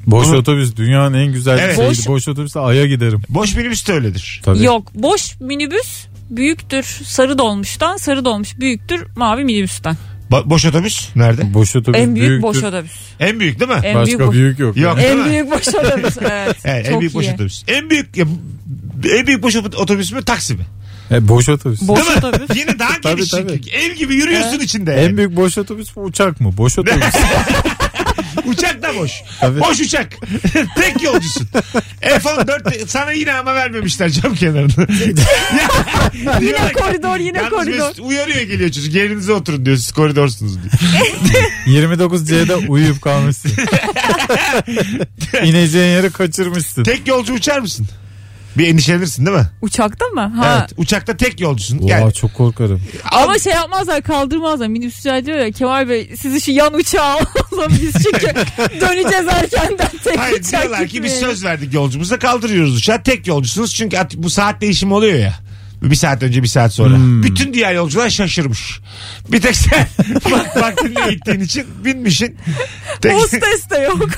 S4: Boş otobüs dünyanın en güzel
S2: Evet.
S4: şeyi.
S3: Boş-
S4: Boş, otobüse aya giderim.
S2: Boş minibüs de öyledir.
S4: Tabii.
S3: Yok. Boş minibüs büyüktür sarı dolmuştan sarı dolmuş büyüktür mavi minibüsten.
S2: Ba- boş otobüs nerede?
S4: Boş otobüs
S3: En büyük
S4: büyüktür.
S3: boş otobüs.
S2: En büyük değil mi?
S3: En
S4: Başka
S3: büyük
S4: büyük,
S3: boş-
S4: yok.
S2: Yok. değil mi?
S3: En büyük boş otobüs. Evet.
S2: Evet, en
S3: çok
S2: büyük boş
S3: iyi.
S2: otobüs. En büyük ya, en büyük boş otobüs mü taksi mi?
S4: E, boş otobüs.
S3: Boş
S2: Değil mi?
S3: otobüs.
S2: Yine daha
S4: Tabii,
S2: geniş.
S4: tabii.
S2: Ev gibi yürüyorsun içinde.
S4: en büyük boş otobüs bu uçak mı? Boş otobüs.
S2: Uçak da boş.
S4: Tabii.
S2: Boş uçak. Tek yolcusun. F-14 sana yine ama vermemişler cam kenarını.
S3: Yine koridor yine
S2: Yalnız
S3: koridor.
S2: Mesut uyarıyor geliyor çocuk. Yerinize oturun diyor. Siz koridorsunuz diyor.
S4: 29C'de uyuyup kalmışsın. İneceğin yeri kaçırmışsın.
S2: Tek yolcu uçar mısın? Bir endişelenirsin değil mi?
S3: Uçakta mı? Ha.
S2: Evet. Uçakta tek yolcusun.
S4: Oha
S2: Yani
S4: çok korkarım.
S3: Ama şey yapmazlar kaldırmazlar. Minibüsçüler diyor ya Kemal Bey sizi şu yan uçağa alalım biz çünkü döneceğiz erkenden tek
S2: Hayır
S3: uçak
S2: diyorlar ki biz
S3: gitmeyelim.
S2: söz verdik yolcumuza kaldırıyoruz uçağı. Tek yolcusunuz çünkü at- bu saat değişimi oluyor ya. Bir saat önce bir saat sonra. Bütün diğer yolcular şaşırmış. Bir tek sen bak- vaktinde gittiğin için binmişsin. Tek,
S3: Hostes de yok.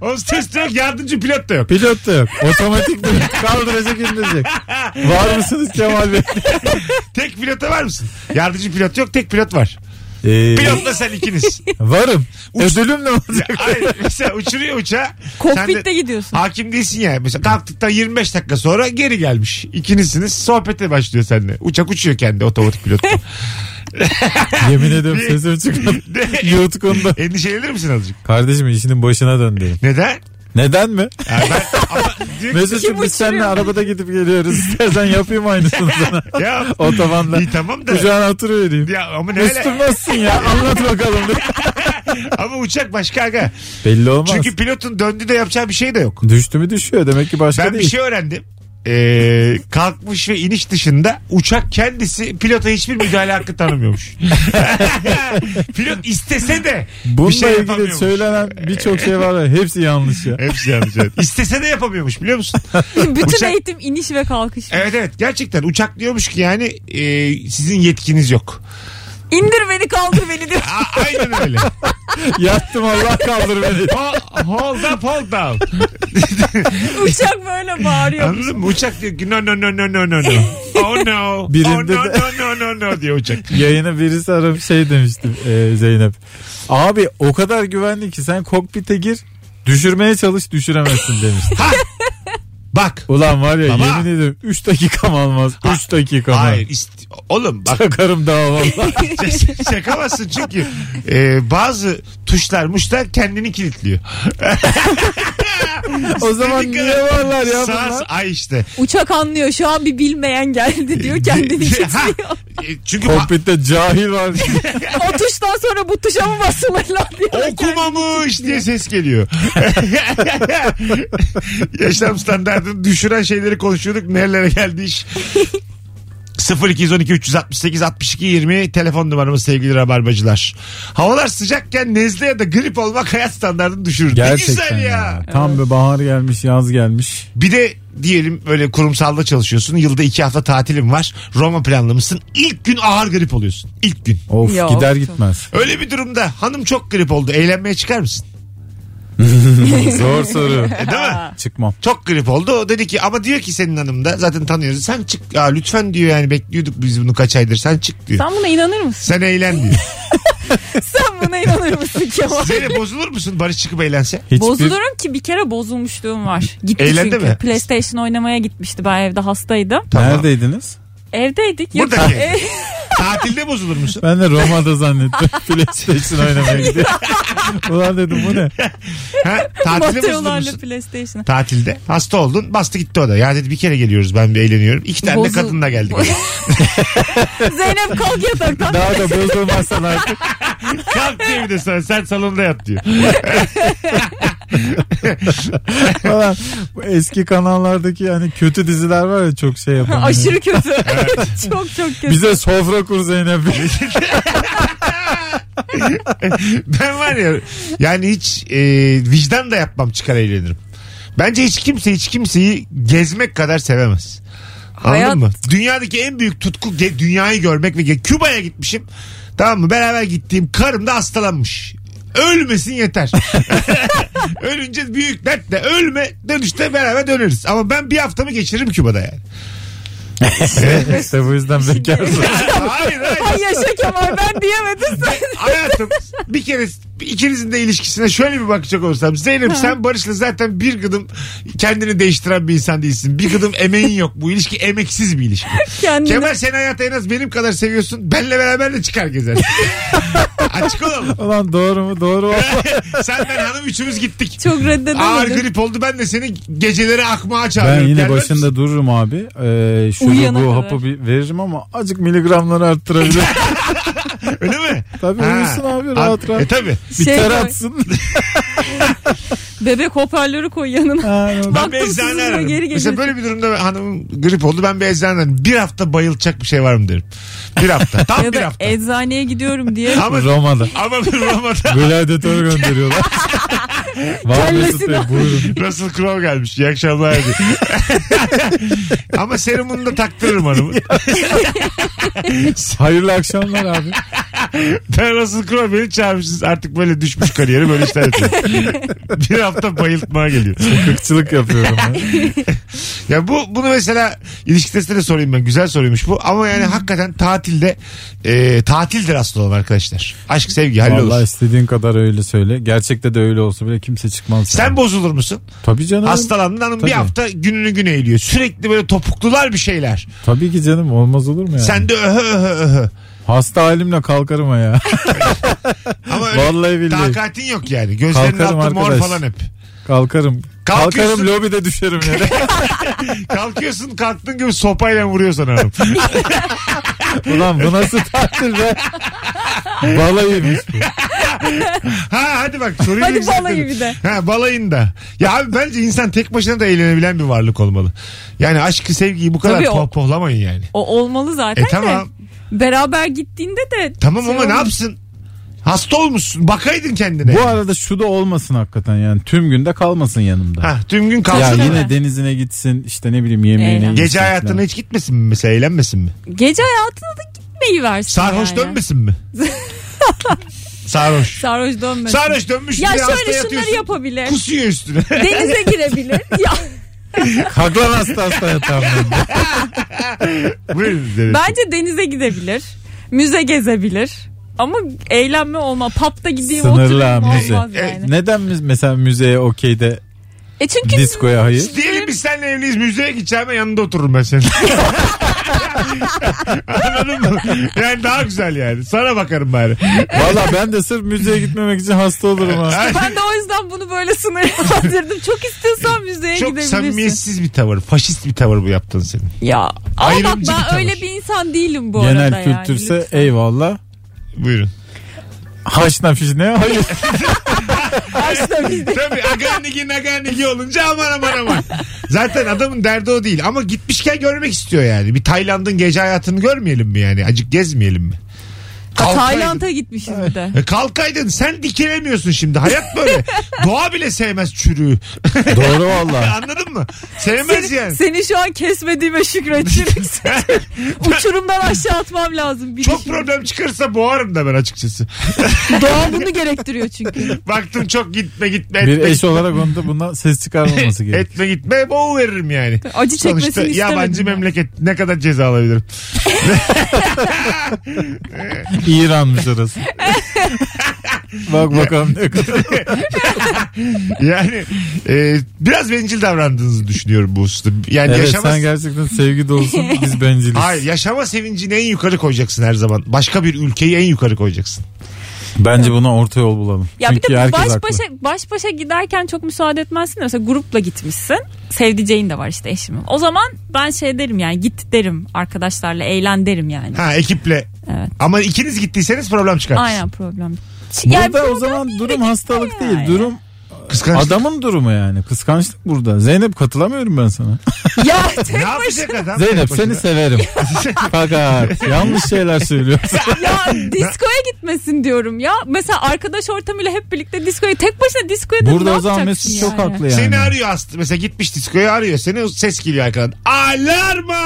S2: hostes de yok yardımcı pilot da yok.
S4: Pilot da yok. Otomatik bir kaldıracak indirecek. Var mısınız Kemal Bey?
S2: Tek pilota var mısın? Yardımcı pilot yok tek pilot var.
S4: Ee,
S2: Pilotla sen ikiniz.
S4: varım.
S2: Uç-
S4: Ödülüm ne olacak?
S2: Hayır, mesela uçuruyor uçağı. sen de-
S3: Kokpitte gidiyorsun.
S2: Hakim değilsin ya. Mesela kalktıktan 25 dakika sonra geri gelmiş. İkinizsiniz. Sohbete başlıyor seninle. Uçak uçuyor kendi otomatik pilot.
S4: Yemin ediyorum sesim çıkmadı. Yutkundu.
S2: Endişelenir misin azıcık?
S4: Kardeşim işinin başına dön dedim.
S2: Neden?
S4: Neden mi?
S2: Ya ben, ama diyor ki-
S4: Mesut'cum
S3: Kim
S4: biz seninle
S3: uçuruyor?
S4: arabada gidip geliyoruz. İstersen yapayım aynısını sana.
S2: ya,
S4: Otobanda.
S2: iyi tamam da.
S4: Kucağına oturuvereyim.
S2: Ya ama ne öyle?
S4: Üstürmezsin ya anlat bakalım.
S2: Ama uçak başka aga.
S4: Belli olmaz.
S2: Çünkü pilotun döndü de yapacağı bir şey de yok.
S4: Düştü mü düşüyor demek ki başka
S2: Ben
S4: değil.
S2: bir şey öğrendim. Ee, kalkmış ve iniş dışında uçak kendisi pilota hiçbir müdahale hakkı tanımıyormuş. Pilot istese de
S4: Bununla
S2: bir şey
S4: ilgili
S2: yapamıyormuş.
S4: söylenen birçok şey var ya hepsi yanlış ya.
S2: Hepsi yanlış. evet. İstese de yapamıyormuş biliyor musun?
S3: Bütün
S2: Uçak-
S3: eğitim iniş ve kalkış.
S2: Evet evet gerçekten uçak diyormuş ki yani e, sizin yetkiniz e, yok.
S3: İndir beni kaldır beni diyor.
S2: A- aynen öyle.
S4: Yattım Allah kaldır beni.
S2: Ho- Hold up hold down.
S3: Uçak böyle bağırıyor.
S2: Anladın mı? Uçak diyor ki no no no no no no no. Oh no.
S4: Birinde
S2: oh no,
S4: de-
S2: no no no no diye uçak.
S4: Yayına birisi arayıp şey demişti e, Zeynep. Abi o kadar güvenli ki sen kokpite gir düşürmeye çalış düşüremezsin demişti.
S2: Bak.
S4: Ulan var ya
S2: Baba.
S4: yemin ederim 3 dakikam almaz. 3 dakikam.
S2: Hayır. ist- Oğlum bak
S4: Takarım daha valla.
S2: Ş- Şakamazsın çünkü e, bazı tuşlar muşlar kendini kilitliyor.
S4: o zaman
S2: Dediğin
S4: niye
S2: kadar-
S4: varlar ya
S2: Sağ-
S4: bunlar?
S2: Ay işte.
S3: Uçak anlıyor şu an bir bilmeyen geldi diyor kendini
S2: Ha,
S3: kilitliyor.
S2: e, Çünkü ba-
S4: Kokpitte cahil var.
S3: o tuştan sonra bu tuşa mı basılır lan diyor.
S2: okumamış diye ses geliyor. Yaşam standartını düşüren şeyleri konuşuyorduk. Nerelere geldi iş? 0212 368 62 20 telefon numaramız sevgili rabarbacılar. Havalar sıcakken nezle ya da grip olmak hayat standartını düşürür. ne
S4: Gerçekten
S2: güzel
S4: ya.
S2: ya.
S4: Tam bir bahar gelmiş yaz gelmiş.
S2: Bir de diyelim böyle kurumsalda çalışıyorsun. Yılda iki hafta tatilin var. Roma planlamışsın. İlk gün ağır grip oluyorsun. İlk gün.
S4: Of
S3: Yok.
S4: gider gitmez.
S2: Öyle bir durumda hanım çok grip oldu. Eğlenmeye çıkar mısın?
S4: Zor soru.
S2: E, değil mi?
S4: Çıkmam.
S2: Çok grip oldu. O dedi ki ama diyor ki senin hanım da zaten tanıyoruz. Sen çık ya lütfen diyor yani bekliyorduk biz bunu kaç aydır. Sen çık diyor.
S3: Sen buna inanır mısın?
S2: Sen eğlen diyor.
S3: Sen buna inanır mısın Kemal?
S2: Seni bozulur musun Barış çıkıp eğlense?
S4: Hiçbir...
S3: Bozulurum ki bir kere bozulmuşluğum var. Gitti
S2: Eğlendi
S3: çünkü.
S2: mi?
S3: PlayStation oynamaya gitmişti. Ben evde hastaydım.
S2: Tamam.
S4: Neredeydiniz?
S3: Evdeydik. Yok-
S2: Buradaki.
S3: E,
S2: Tatilde bozulur musun?
S4: Ben de Roma'da zannettim. PlayStation oynamaya gidiyor. Ulan dedim bu ne?
S2: Ha? Tatilde bozulur
S3: Batıyorlarla
S2: musun?
S3: PlayStation'a.
S2: Tatilde. Hasta oldun. Bastı gitti o da. Ya dedi bir kere geliyoruz ben bir eğleniyorum. İki tane
S3: Bozul-
S2: de kadınla geldik.
S3: Zeynep kalk yataktan.
S4: Daha da bozulmazsan artık.
S2: Kalk diye bir de sana sen salonda yat diyor.
S4: Falan. Bu eski kanallardaki yani kötü diziler var ya çok şey yapan.
S3: Aşırı kötü. çok çok kötü.
S4: Bize sofra kur Zeynep.
S2: ben var ya yani hiç e, vicdan da yapmam çıkar eğlenirim. Bence hiç kimse hiç kimseyi gezmek kadar sevemez. Anladın
S3: Hayat-
S2: mı? Dünyadaki en büyük tutku ge- dünyayı görmek ve ge- Küba'ya gitmişim. Tamam mı? Beraber gittiğim karım da hastalanmış. Ölmesin yeter. Ölünce büyük dert de ölme dönüşte beraber döneriz. Ama ben bir haftamı geçiririm Küba'da yani.
S4: işte bu yüzden bekarsın.
S2: hayır hayır.
S3: Ay yaşa Kemal ben diyemedim sen.
S2: Hayatım bir kere ikinizin de ilişkisine şöyle bir bakacak olursam. Zeynep sen Barış'la zaten bir gıdım kendini değiştiren bir insan değilsin. Bir gıdım emeğin yok. Bu ilişki emeksiz bir ilişki.
S3: Kendine.
S2: Kemal sen hayatı en az benim kadar seviyorsun. Benle beraber de çıkar gezersin. Açık olalım.
S4: Ulan doğru mu? Doğru mu?
S2: sen ben hanım üçümüz gittik.
S3: Çok
S2: Ağır
S3: reddedemedim.
S2: grip oldu ben de seni geceleri akmağa
S4: Ben
S2: çağırıyorum.
S4: yine
S2: Gelmez
S4: başında
S2: misin?
S4: dururum abi. Ee, şurubu
S3: Uyuyana kadar.
S4: hapı bir veririm ama azıcık miligramları arttırabilirim.
S2: Öyle mi?
S4: Tabii
S2: Ha.
S4: uyusun abi rahat
S2: E
S4: rahat.
S2: tabii.
S4: Bir
S3: Şey
S4: ter
S3: koy.
S4: atsın.
S3: Bebek hoparlörü koy yanına.
S4: Ha, yok.
S2: Ben bir
S3: Baktım
S2: eczane
S3: sizinle
S2: ararım.
S3: geri
S2: Mesela
S3: geliyorsun.
S2: böyle bir durumda hanımım grip oldu. Ben bir eczane ararım. Bir hafta bayılacak bir şey var mı derim. Bir hafta. Tam
S3: Ya
S2: bir
S3: da e-
S2: hafta.
S3: eczaneye gidiyorum diye.
S2: Ama,
S4: Roma'da.
S2: ama bir Roma'da
S4: Gladyatör gönderiyorlar. Var
S3: Kellesini
S4: Mesut Bey
S3: al.
S4: buyurun.
S2: Russell Crowe gelmiş. İyi akşamlar. diye. ama serumunu da taktırırım hanımı.
S4: Hayırlı akşamlar abi.
S2: Ben Russell Crowe beni çağırmışsınız. Artık böyle düşmüş kariyeri böyle işler yapıyor. bir hafta bayıltmaya geliyor.
S4: Kırkçılık yapıyorum. ya.
S2: Ya bu bunu mesela ilişki testine de sorayım ben. Güzel soruymuş bu. Ama yani
S3: Hmm.
S2: hakikaten tatilde e, tatildir aslında olan arkadaşlar. Aşk sevgi hallolur.
S4: Vallahi istediğin kadar öyle söyle. Gerçekte de öyle olsa bile kimse çıkmaz.
S2: Sen bozulur musun?
S4: Tabii canım.
S2: Hastalandın hanım
S4: Tabii.
S2: bir hafta gününü gün eğiliyor. Sürekli böyle topuklular bir şeyler.
S4: Tabii ki canım olmaz olur mu yani?
S2: Sen de öhö öhö öhö.
S4: Hasta halimle kalkarım ha ya.
S2: Ama öyle
S4: Vallahi billahi.
S2: takatin yok yani. Gözlerinin
S4: Kalkarım
S2: altı mor
S4: arkadaş.
S2: falan hep.
S4: kalkarım.
S2: Kalkıyorsun.
S4: Kalkarım lobide düşerim yere.
S2: Kalkıyorsun kalktığın gibi sopayla vuruyor sana hanım.
S4: Ulan bu nasıl tatil be? Balayıymış bu.
S2: ha hadi bak soruyu
S3: Hadi
S2: yükseltelim.
S3: balayı bir de.
S2: Ha balayın da. Ya abi bence insan tek başına da eğlenebilen bir varlık olmalı. Yani aşkı sevgiyi bu kadar
S3: Tabii o-
S2: pohpohlamayın yani.
S3: O olmalı zaten
S2: E tamam.
S3: de. Beraber gittiğinde de.
S2: Tamam
S3: şey
S2: ama ne
S3: olmaz.
S2: yapsın? Hasta olmuşsun. Bakaydın kendine.
S4: Bu arada şu da olmasın hakikaten yani. Tüm günde kalmasın yanımda.
S2: Ha, tüm gün
S4: ya
S2: kalsın.
S3: Tabii.
S4: yine denizine gitsin işte ne bileyim yemeğine
S3: Eğlen.
S4: gitsin
S2: Gece
S4: falan.
S2: hayatına hiç gitmesin mi mesela eğlenmesin mi?
S3: Gece hayatına da git gitmeyi versin.
S2: Sarhoş
S3: yani.
S2: dönmesin mi? Sarhoş.
S3: Sarhoş dönmesin.
S2: Sarhoş dönmüş.
S3: ya
S2: bir hasta
S3: şöyle şunları
S2: yatıyorsun,
S3: yapabilir.
S2: Kusuyor üstüne.
S3: Denize girebilir. ya
S4: Kalklan hasta hasta yatağımdan.
S2: Buyurun. Zeynep.
S3: bence denize gidebilir. Müze gezebilir. Ama eğlenme olma. Papta gideyim
S4: Sınırlı
S3: oturayım
S4: ha, müze.
S3: olmaz
S2: E,
S3: yani.
S4: Neden biz mesela müzeye okeyde
S3: E çünkü
S4: diskoya hayır?
S2: Diyelim biz seninle evliyiz müzeye gideceğim ben yanında otururum ben senin. Anladın mı? Yani daha güzel yani. Sana bakarım bari.
S4: Valla ben de sırf müzeye gitmemek için hasta olurum ha.
S3: ben de o yüzden bunu böyle sınırlandırdım. Çok istiyorsan müzeye
S2: Çok
S3: gidebilirsin.
S2: samimiyetsiz bir tavır. Faşist bir tavır bu yaptığın senin.
S3: Ya ama bak
S2: Ayrımcı bir
S3: ben
S2: tavır.
S3: öyle bir insan değilim bu arada
S4: Genel
S3: yani.
S4: kültürse eyvallah.
S2: Buyurun.
S4: Haşna fişne hayır.
S2: Tabii aganigi naganigi olunca aman aman aman. Zaten adamın derdi o değil. Ama gitmişken görmek istiyor yani. Bir Tayland'ın gece hayatını görmeyelim mi yani? Acık gezmeyelim mi?
S3: Ha,
S2: Kalkaydın.
S3: Tayland'a gitmişiz bir de.
S2: E, kalkaydın sen dikilemiyorsun şimdi. Hayat böyle. Doğa bile sevmez çürüğü.
S4: Doğru valla.
S2: Anladın mı? Sevmez
S3: Seni,
S2: yani.
S3: seni şu an kesmediğime şükredeceğim. Uçurumdan aşağı atmam lazım. Bir
S2: Çok
S3: düşün.
S2: problem çıkarsa boğarım da ben açıkçası.
S3: Doğa bunu gerektiriyor çünkü.
S2: Baktım çok gitme gitme etme.
S4: Bir eş
S2: gitme,
S4: olarak onda bundan ses çıkarmaması gerekiyor.
S2: etme gitme boğu veririm yani.
S3: Acı çekmesini
S2: Sonuçta
S3: istemedim.
S2: yabancı
S3: ben.
S2: memleket ne kadar ceza alabilirim?
S4: İran'mış orası. Bak bakalım ne kadar.
S2: Yani e, biraz bencil davrandığınızı düşünüyorum bu hususta. Yani
S4: Evet
S2: yaşama,
S4: sen gerçekten sevgi dolusun biz benciliz.
S2: hayır, yaşama sevincini en yukarı koyacaksın her zaman. Başka bir ülkeyi en yukarı koyacaksın.
S4: Bence buna orta yol bulalım.
S3: Ya
S4: Çünkü
S3: bir de
S4: herkes
S3: baş
S4: haklı.
S3: başa, baş başa giderken çok müsaade etmezsin de mesela grupla gitmişsin. Sevdiceğin de var işte eşimin. O zaman ben şey derim yani git derim arkadaşlarla eğlen derim yani.
S2: Ha ekiple.
S3: Evet.
S2: Ama ikiniz gittiyseniz problem çıkar.
S3: Aynen problem. Yani
S4: Burada
S3: problem
S4: o zaman
S3: değil de
S4: durum
S3: gitme
S4: hastalık değil.
S3: yani.
S4: Durum
S2: Kıskançlık.
S4: adamın durumu yani. Kıskançlık burada. Zeynep katılamıyorum ben sana.
S3: Ya
S2: ne
S3: tek başına.
S2: yapacak adam?
S4: Zeynep
S2: tek başına?
S4: seni severim. Fakat yanlış şeyler söylüyorsun.
S3: ya diskoya gitmesin diyorum ya. Mesela arkadaş ortamıyla hep birlikte diskoya tek başına diskoya da ne
S4: Burada o zaman
S3: yapacaksın
S4: Mesut
S3: yani?
S4: çok haklı yani.
S2: Seni arıyor hasta. Mesela gitmiş diskoya arıyor. Seni ses geliyor arkadan. Alarma!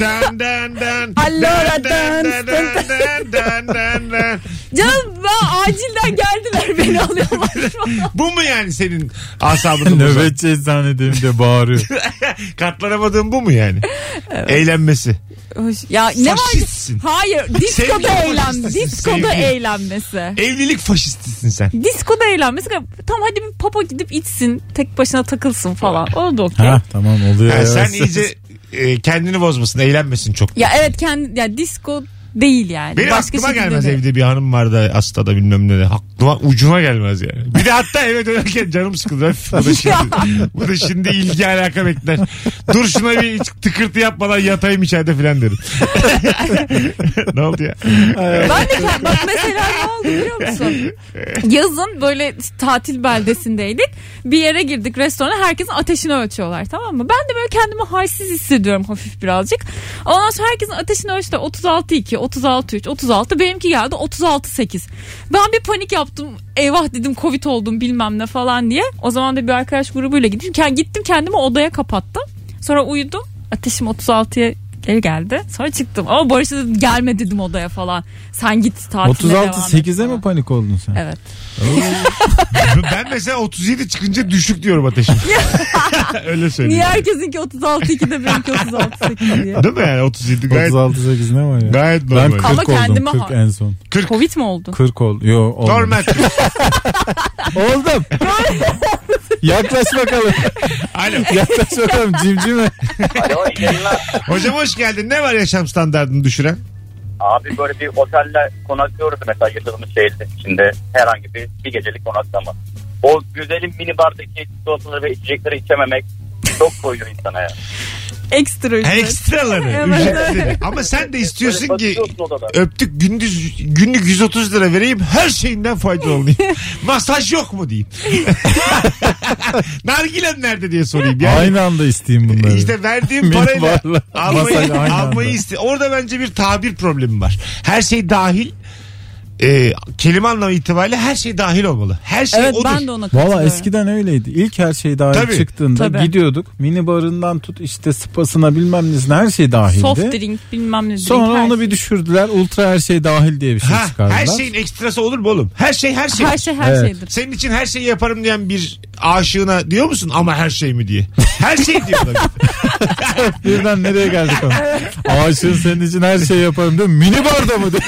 S2: Dan dan dan.
S3: Allora,
S2: Dan, dan,
S3: dans,
S2: dan, dan, dan, dan, dan.
S3: Canım ben acilden geldiler beni alıyorlar.
S2: Bu mu yani senin asabını bozan?
S4: Nöbetçi eczanedeyim diye bağırıyor.
S2: Katlanamadığın bu mu yani? Eğlenmesi.
S3: Hoş- ya ne var?
S2: Faşistsin.
S3: Hayır,
S2: Sevgili
S3: diskoda eğlen,
S2: faşistsin,
S3: diskoda
S2: sevgili.
S3: eğlenmesi.
S2: Evlilik faşistisin sen.
S3: Diskoda eğlenmesi. Tam hadi bir papa gidip içsin, tek başına takılsın falan. O da okey.
S4: ha tamam oluyor.
S2: Ha,
S4: ya.
S2: sen iyice e, kendini bozmasın, eğlenmesin çok.
S3: Ya evet kendi ya disko değil yani.
S2: Benim
S3: Başka
S2: aklıma
S3: şekilde
S2: gelmez
S3: de.
S2: evde bir hanım vardı hasta da bilmem ne de. Aklıma ucuma gelmez yani. Bir de hatta eve dönerken canım sıkıldı. Öf, Bu da şimdi, bu da şimdi ilgi alaka bekler. Dur şuna bir hiç tıkırtı yapmadan yatayım içeride filan derim. ne oldu ya?
S3: Ben de kend- bak mesela ne oldu biliyor musun? Yazın böyle tatil beldesindeydik. Bir yere girdik restorana herkesin ateşini ölçüyorlar tamam mı? Ben de böyle kendimi halsiz hissediyorum hafif birazcık. Ondan sonra herkesin ateşini ölçtü 36-2, 36-3, 36 benimki geldi 36-8. Ben bir panik yaptım eyvah dedim covid oldum bilmem ne falan diye. O zaman da bir arkadaş grubuyla gittim. Kend- Gittim kendimi odaya kapattım. Sonra uyudum ateşim 36'ya geri geldi. Sonra çıktım. Ama Barış'a dedim gelme dedim odaya falan. Sen git tatile
S4: 36
S3: devam et
S4: 8'e
S3: falan.
S4: mi panik oldun sen?
S3: Evet.
S2: Ben mesela 37 çıkınca düşük diyorum ateşim. Öyle söyleyeyim.
S3: Niye herkesinki 36 2 de benimki 36 8 diye.
S2: Değil mi yani 37 gayet,
S4: 36 8 ne var ya?
S2: gayet
S4: ben
S2: normal.
S4: 40
S3: Ama
S4: oldum.
S3: kendime
S4: 40
S3: ha-
S4: en son.
S3: Covid mi oldu?
S4: 40 oldu. Yo olmadı.
S2: Normal.
S4: Oldum. Yaklaş bakalım.
S2: Alo.
S4: Yaklaş bakalım cimcime.
S8: Alo iyi yayınlar.
S2: Hocam hoş geldin. Ne var yaşam standartını düşüren?
S8: Abi böyle bir otelde konaklıyoruz mesela yaşadığımız şehirde içinde herhangi bir bir gecelik konaklama. O güzelim minibardaki çikolataları ve içecekleri içememek çok koyuyor insana ya.
S3: Ekstra
S2: Ha,
S3: ücret.
S2: ekstraları.
S3: Evet.
S2: ücretleri. Ama sen de istiyorsun
S8: Böyle
S2: ki
S8: bakıyorsun odada.
S2: öptük gündüz günlük 130 lira vereyim her şeyinden faydalı olayım. Masaj yok mu diyeyim. Nargilem nerede diye sorayım. Yani
S4: Aynı anda isteyeyim bunları.
S2: İşte verdiğim
S4: Benim
S2: parayla
S4: varla-
S2: almayı,
S4: masayla aynı
S2: almayı
S4: anda.
S2: iste. Orada bence bir tabir problemi var. Her şey dahil e, kelime anlamı itibariyle her şey dahil olmalı. Her şey
S3: Evet
S2: odur.
S3: ben de ona katılıyorum.
S4: Valla eskiden öyleydi. İlk her şey dahil
S2: Tabii.
S4: çıktığında
S3: Tabii.
S4: gidiyorduk. Mini barından tut işte spasına bilmem nesine her şey dahildi.
S3: Soft drink bilmem ne drink.
S4: Sonra
S3: her şey.
S4: onu bir düşürdüler. Ultra her şey dahil diye bir şey
S2: Ha,
S4: çıkardılar.
S2: her şeyin ekstrası olur mu oğlum? Her şey her şey.
S3: Her şey her
S4: Evet.
S3: şeydir.
S2: Senin için her şeyi yaparım diyen bir aşığına diyor musun ama her şey mi diye? Her şey diyor. adam.
S4: Birden nereye geldik ama. Aşığın senin için her şey yaparım diyor. Mini barda mı diyor.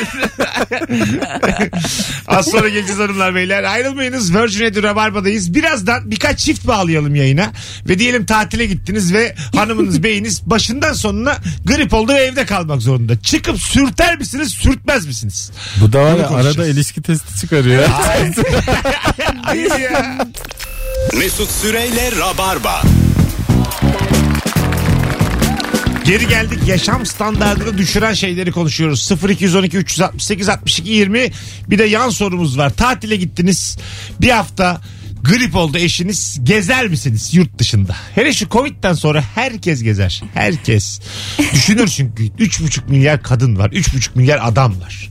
S2: Az sonra geleceğiz hanımlar beyler. Ayrılmayınız. Virgin Radio Rabarba'dayız. Birazdan birkaç çift bağlayalım yayına. Ve diyelim tatile gittiniz ve hanımınız beyiniz başından sonuna grip oldu ve evde kalmak zorunda. Çıkıp sürter misiniz sürtmez misiniz?
S4: Bu da var
S2: Bunu
S4: ya
S2: konuşacağız.
S4: arada ilişki testi çıkarıyor.
S2: Hayır ya.
S1: Mesut Süreyle Rabarba.
S2: Geri geldik. Yaşam standartını düşüren şeyleri konuşuyoruz. 0212 368 62 20. Bir de yan sorumuz var. Tatile gittiniz. Bir hafta grip oldu eşiniz. Gezer misiniz yurt dışında? Hele şu Covid'den sonra herkes gezer. Herkes. Düşünür çünkü 3,5 milyar kadın var. 3,5 milyar adam var.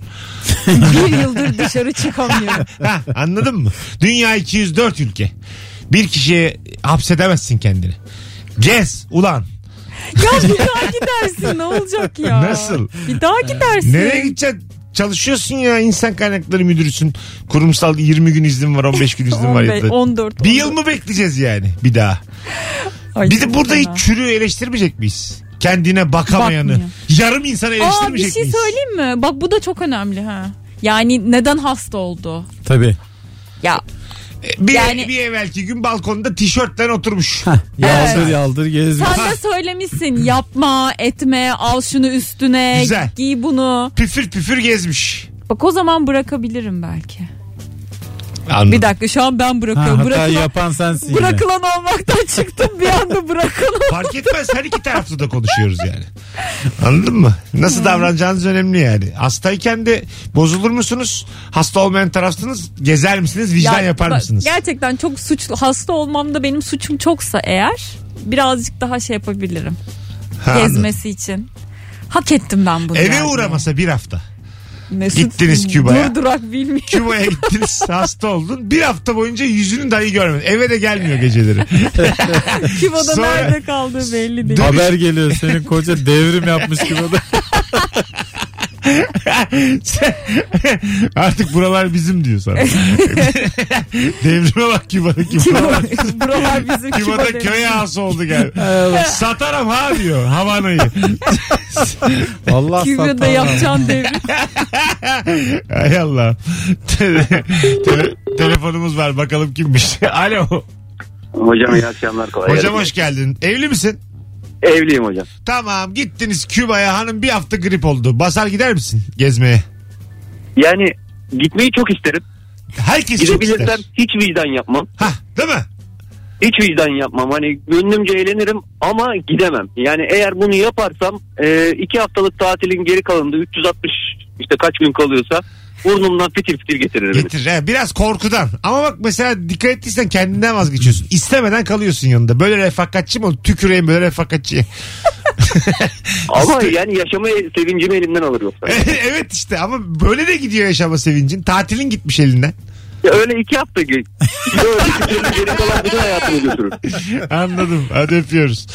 S3: bir yıldır dışarı çıkamıyorum.
S2: Ha, anladın mı? Dünya 204 ülke. Bir kişiye hapsedemezsin kendini. Gez ulan.
S3: ya bir daha gidersin ne olacak ya?
S2: Nasıl?
S3: Bir daha gidersin.
S2: Nereye gideceksin? Çalışıyorsun ya insan kaynakları müdürüsün. Kurumsal 20 gün iznim var 15 gün iznim var. ya da.
S3: 15, 14.
S2: Bir yıl mı bekleyeceğiz yani bir daha?
S3: Ay,
S2: Bizi
S3: çok
S2: burada
S3: fena.
S2: hiç çürüğü eleştirmeyecek miyiz? Kendine bakamayanı.
S3: Bakmıyor.
S2: Yarım insanı
S3: Aa bir
S2: eleştirmeyecek
S3: şey
S2: miyiz?
S3: söyleyeyim mi? Bak bu da çok önemli ha. Yani neden hasta oldu?
S4: Tabii.
S3: Ya
S2: Bir,
S3: Yani-
S2: bir evvelki gün balkonda tişörtten oturmuş.
S4: Yaldır
S3: Evet.
S4: yaldır gezmiş.
S3: sen de söylemişsin yapma etme al şunu üstüne
S2: Güzel.
S3: giy bunu.
S2: püfür püfür gezmiş.
S3: Bak o zaman bırakabilirim belki.
S2: Anladım.
S3: Bir dakika şu an ben
S4: Ha,
S3: bırakıyorum.
S4: hatayı
S3: Bırakılan,
S4: yapan sensin yine.
S3: bırakılan olmaktan çıktım bir anda bırakılan.
S2: Fark etmez her iki tarafta da konuşuyoruz yani. Anladın mı?
S3: Hmm.
S2: Nasıl davranacağınız önemli yani. Hastayken de bozulur musunuz? Hasta olmayan tarafsınız. Gezer misiniz? Vicdan
S3: Ya,
S2: yapar
S3: bak,
S2: mısınız?
S3: Gerçekten çok suçlu hasta olmam da benim suçum çoksa eğer birazcık daha şey yapabilirim.
S2: Ha, anladım.
S3: Gezmesi için. Hak ettim ben bunu.
S2: Eve
S3: yani.
S2: uğramasa bir hafta.
S3: Mesut,
S2: Gittiniz Küba'ya.
S3: Dur durak bilmiyor.
S2: Küba'ya gittiniz hasta oldun. Bir hafta boyunca yüzünü dahi görmedin. Eve de gelmiyor geceleri.
S3: Küba'da
S2: Sonra-
S3: nerede kaldığı belli değil.
S4: Haber geliyor senin koca devrim yapmış gibi. adam.
S2: Artık buralar bizim diyor sana. Devrime bak Küba'daki.
S3: Küba, buralar bizim Küba
S2: Küba'da
S3: değil.
S2: köy ağası oldu gel. Satarım ha diyor Havana'yı.
S4: Allah
S3: Küba'da
S4: satar.
S3: yapacağın devrim.
S2: Hay Allah. Tele- tele- telefonumuz var bakalım kimmiş. Alo.
S8: Hocam iyi akşamlar kolay
S2: Hocam hoş geldin. Evli misin?
S8: Evliyim hocam.
S2: Tamam gittiniz Küba'ya hanım bir hafta grip oldu. Basar gider misin gezmeye?
S8: Yani gitmeyi çok isterim.
S2: Herkes çok
S8: Gidebilirsem
S2: ister.
S8: hiç vicdan yapmam.
S2: Hah değil mi?
S8: Hiç vicdan yapmam. Hani gönlümce eğlenirim ama gidemem. Yani eğer bunu yaparsam e, iki haftalık tatilin geri kalanında 360 işte kaç gün kalıyorsa burnumdan fitil fitil getirir beni.
S2: Getir. he, biraz korkudan. Ama bak mesela dikkat ettiysen kendinden vazgeçiyorsun. İstemeden kalıyorsun yanında. Böyle refakatçi mi? olur? Tüküreyim böyle refakatçi.
S8: Ama yani yaşama sevincimi elimden alır yoksa.
S2: evet işte ama böyle de gidiyor yaşama sevincin. Tatilin gitmiş elinden.
S8: Ya öyle iki hafta ge- gidiyor, öyle gidiyor, geri kalan bütün hayatını götürür.
S2: Anladım. Hadi öpüyoruz.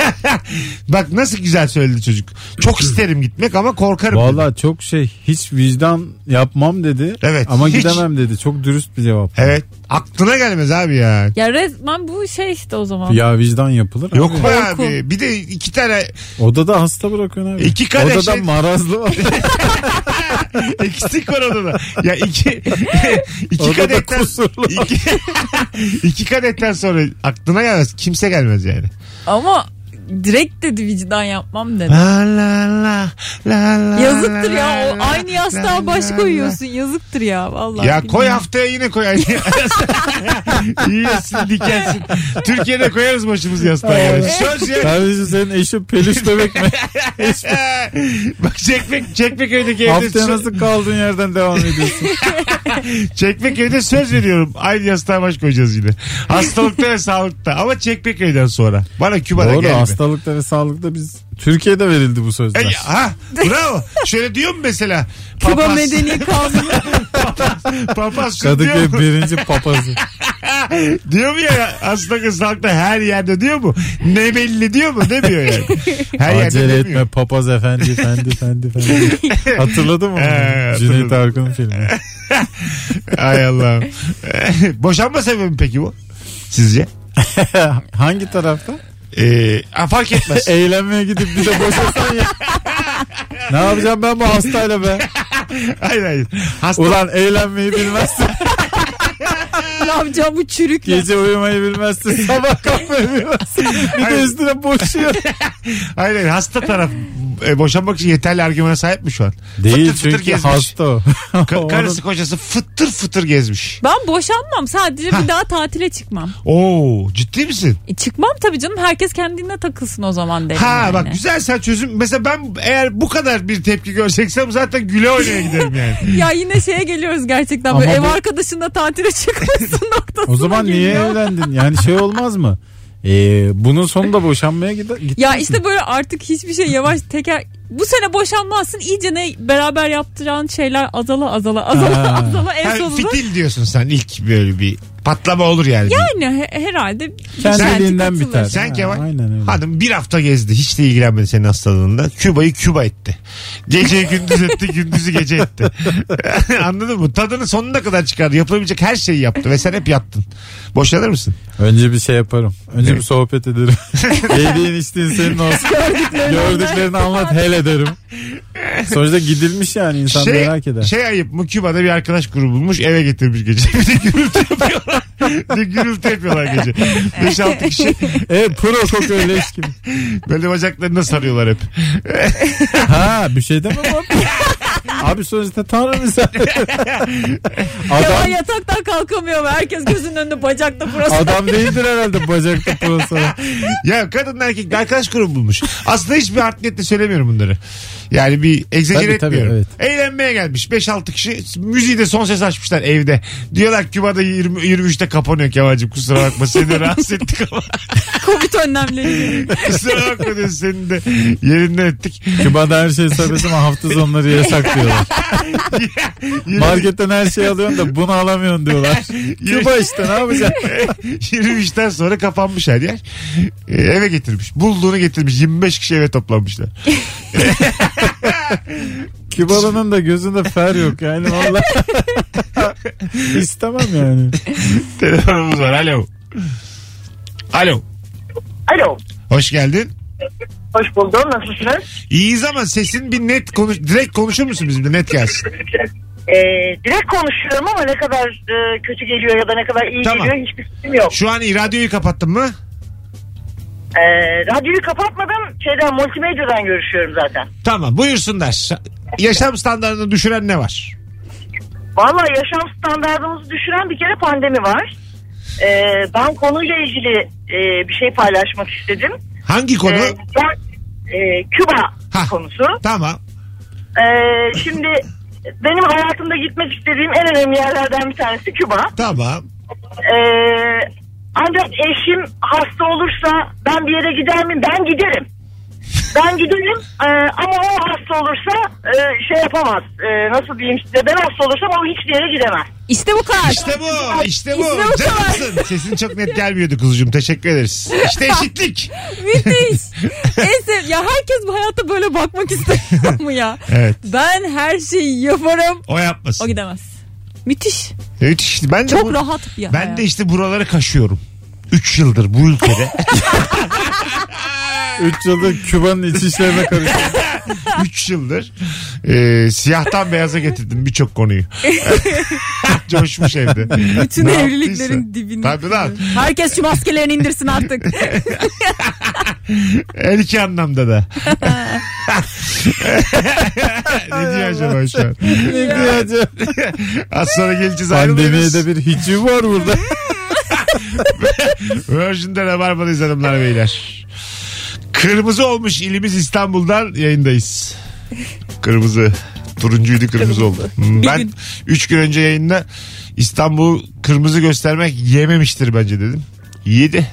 S2: Bak nasıl güzel söyledi çocuk. Çok isterim gitmek ama korkarım. dedi.
S4: Valla çok şey hiç vicdan yapmam dedi.
S2: Evet,
S4: Ama
S2: hiç.
S4: gidemem dedi. Çok dürüst bir cevap.
S2: Evet. Aklına gelmez abi ya.
S3: Ya resmen bu şey işte o zaman.
S4: Ya vicdan yapılır.
S2: Yok
S4: abi.
S2: mu abi? Bir de iki tane
S4: Odada hasta bırakıyorsun abi.
S2: İki kadeh
S4: Odada
S2: şey-
S4: marazlı var.
S2: eksik var odada. Ya iki iki
S4: Odada
S2: kadehten
S4: kusurlu.
S2: iki, iki kadehten sonra aklına gelmez. Kimse gelmez yani.
S3: Ama direkt dedi vicdan yapmam dedi.
S2: La la la la la
S3: Yazıktır ya
S2: la
S3: o
S2: la,
S3: aynı yastığa
S2: la
S3: baş
S2: la
S3: koyuyorsun yazıktır ya vallahi.
S2: Ya koy
S3: bilmiyorum.
S2: haftaya yine koy. Yiyesin dikensin. Türkiye'de koyarız başımızı yastığa. yani. Söz ya.
S4: Kardeşim senin eşin şey peluş bebek mi?
S2: Bak Çekmek, Çekmeköy'deki evde,
S4: Haftaya
S2: sö-
S4: nasıl kaldığın yerden devam ediyorsun?
S2: Çekmeköy'de söz veriyorum. Aynı yastığa baş koyacağız yine. Hastalıkta ve sağlıkta. Ama Çekmeköy'den sonra. Bana Küba'da
S4: Doğru
S2: gelme.
S4: hastalıkta ve sağlıkta biz Türkiye'de verildi bu
S2: E,
S4: sözler.
S2: ha bravo. Şöyle diyor mu mesela?
S3: Küba
S2: papaz-
S3: medeni kanunu.
S2: Papaz şunu diyor
S4: Kadıköy
S2: mu?
S4: birinci papazı.
S2: Diyor mu ya aslında kız halkta her yerde diyor mu? Ne belli diyor mu? Ne diyor yani? Her
S4: Acele
S2: yerde
S4: etme
S2: demiyor.
S4: papaz efendi efendi efendi efendi. Hatırladın mı?
S2: Ee,
S4: onu? Cüneyt Arkın'ın filmi.
S2: Ay Allah'ım. Boşanma sebebi mi peki bu? Sizce?
S4: Hangi tarafta?
S2: Ee, ha, fark etmez.
S4: Eğlenmeye gidip bir de boşasan ya. ne yapacağım ben bu hastayla be?
S2: hayır hayır. Hasta
S4: Ulan eğlenmeyi bilmezsin.
S3: ne yapacağım bu çürükle.
S4: Gece uyumayı bilmezsin. Sabah kalkmayı bilmezsin. Bir de
S2: Hayır.
S4: üstüne boşuyor.
S2: Hayır hayır hasta taraf e, boşanmak için yeterli argümana sahip mi şu an?
S4: Değil
S2: fıtır
S4: çünkü
S2: gezmiş.
S4: hasta o.
S2: Ka-
S4: Onun-
S2: karısı kocası fıtır fıtır gezmiş.
S3: Ben boşanmam sadece bir daha tatile çıkmam.
S2: Oo ciddi misin?
S3: E, çıkmam tabii canım herkes kendine takılsın o zaman derim
S2: Ha
S3: yani.
S2: bak güzel sen çözüm. Mesela ben eğer bu kadar bir tepki göreceksem zaten güle oynaya giderim yani.
S3: Ya yine şeye geliyoruz gerçekten böyle
S4: Ama
S3: ev
S4: bu-
S3: arkadaşınla tatile çıkmışsın noktasına
S4: O zaman niye
S3: geliyor.
S4: evlendin? Yani şey olmaz mı? Ee, bunun sonunda boşanmaya gider. gitmek
S3: Ya
S4: mi?
S3: işte böyle artık hiçbir şey yavaş teker bu sene boşanmazsın iyice ne beraber yaptıran şeyler azala azala azala
S4: Ha.
S3: azala en
S2: Yani
S3: sonunda
S2: fitil diyorsun sen ilk böyle bir patlama olur yani.
S3: yani he- herhalde şey
S4: kendiliğinden biter.
S2: Sen Kemal.
S4: Aynen öyle.
S2: Hanım bir hafta gezdi. Hiç de ilgilenmedi senin hastalığında. Küba'yı Küba etti. Geceyi gündüz etti, gündüzü gece etti. Anladın mı? Tadını sonuna kadar çıkardı. Yapılabilecek her şeyi yaptı ve sen hep yattın. Boşanır mısın?
S4: Önce bir şey yaparım. Önce bir sohbet ederim. Yediğin içtiğin senin olsun. Gördüklerini anlat hele derim. Sonuçta gidilmiş yani insan
S2: şey,
S4: merak eder.
S2: şey ayıp mı? Küba'da bir arkadaş grubu bulmuş eve getirmiş gece. Bir de gürültü yapıyorlar. bir de gürültü yapıyorlar gece. 5-6 kişi
S4: E pro kokuyor leş gibi.
S2: böyle bacaklarına sarıyorlar hep.
S4: Ha bir şey deme bak. Abi sonuçta tanrı sen.
S3: Kemal
S4: adam,
S3: yataktan kalkamıyor ve herkes gözünün önünde bacakta burası.
S4: adam değildir herhalde bacakta prosa.
S2: Ya kadın erkek de arkadaş grubu bulmuş. Aslında hiçbir art niyetle söylemiyorum bunları. Yani bir egzajere
S4: Tabii, tabii,
S2: etmiyorum.
S4: evet.
S2: Eğlenmeye gelmiş 5-6 kişi müziği de son ses açmışlar evde. Diyorlar Küba'da 20, 23'te kapanıyor Kemal'cim kusura bakma seni de rahatsız ettik ama
S3: Covid önlemleri.
S2: kusura bakma diyoruz seni de yerinden ettik.
S4: Küba'da her şey serbest ama hafta sonları yasak diyorlar.
S2: Yirmi-
S4: Marketten her şeyi alıyorsun da bunu alamıyorsun diyorlar. Küba işte ne yapacaksın?
S2: 23'ten sonra kapanmış her yer. Ee, eve getirmiş. Bulduğunu getirmiş. 25 kişi eve toplanmışlar.
S4: Kübalı'nın da gözünde fer yok yani valla. İstemem yani.
S2: Telefonumuz var. Alo. Alo.
S9: Alo.
S2: Hoş geldin.
S9: Hoş buldum. Nasılsınız?
S2: İyiyiz ama sesin bir net konuş direkt konuşur musun bizimle net gelsin.
S9: Ee, direkt konuşuyorum ama ne kadar e, kötü geliyor ya da ne kadar iyi
S2: Tamam.
S9: geliyor hiçbir fikrim yok.
S2: Şu an iyi, radyoyu kapattın mı?
S9: Ee, radyoyu kapatmadım. Şeyden multimedyadan görüşüyorum zaten.
S2: Tamam buyursunlar. Şa- Yaşam standartını düşüren ne var?
S9: Valla yaşam standartımızı düşüren bir kere pandemi var. Ee, ben konuyla ilgili e, bir şey paylaşmak istedim.
S2: Hangi konu?
S9: Ee, ben, e, Küba
S2: Hah.
S9: konusu.
S2: Tamam.
S9: Ee, şimdi benim hayatımda gitmek istediğim en önemli yerlerden bir tanesi Küba.
S2: Tamam.
S9: Ee, ancak eşim hasta olursa ben bir yere gider miyim? Ben giderim. Ben giderim ee, ama o hasta olursa e, şey yapamaz. Ee, nasıl diyeyim size ben hasta olursam o hiçbir yere gidemez.
S3: İşte bu kadar.
S2: İşte bu. İşte bu.
S3: İşte bu kadar.
S2: Canımsın. Sesin çok net gelmiyordu kuzucuğum. Teşekkür ederiz. İşte eşitlik.
S3: Müthiş. En sev- ya herkes bu hayata böyle bakmak istemiyor mu ya?
S2: Evet.
S3: Ben her şeyi yaparım.
S2: O yapmasın.
S3: O gidemez. Müthiş.
S2: Evet işte ben de
S3: Çok
S2: bu-
S3: rahat bir
S2: Ben
S3: hayat.
S2: de işte buraları kaşıyorum. 3 yıldır bu ülkede.
S4: 3 yıldır Küba'nın iç işlerine karışıyor.
S2: 3 yıldır e, siyahtan beyaza getirdim birçok konuyu. Coşmuş evde.
S3: Bütün
S2: Ne
S3: evliliklerin
S2: yaptıysa.
S3: dibini.
S2: Tabii lan.
S3: Herkes şu maskelerini indirsin artık.
S2: Her iki anlamda da. ne diyor acaba şu an?
S4: Ne diyeceğim?
S2: Az sonra geleceğiz
S4: Pandemiye de
S2: ayrılıyoruz.
S4: bir hiciv var burada.
S2: Virgin'de Rabarba'dayız hanımlar beyler. Kırmızı olmuş ilimiz İstanbul'dan yayındayız. Kırmızı. Turuncuydu kırmızı oldu. Hmm,
S3: Bir
S2: Ben
S3: gün.
S2: 3 gün önce yayında İstanbul kırmızı göstermek yememiştir bence dedim. Yedi.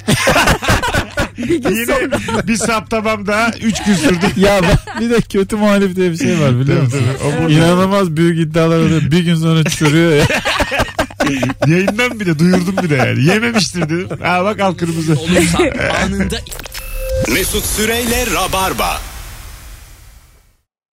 S3: Bir gün
S2: Yine
S3: sonra.
S2: bir saptamam daha 3 gün sürdü.
S4: ya bak, bir de kötü muhalif diye bir şey var biliyor
S2: Tabii,
S4: musun?
S2: tabii. O burada.
S4: İnanılmaz büyük iddialar oluyor. Bir gün sonra çürüyor ya.
S2: Yayından bir de duyurdum bir de yani. Yememiştir dedim. Ha bak al kırmızı.
S10: Olursa anında
S1: Mesut Süreyle Rabarba.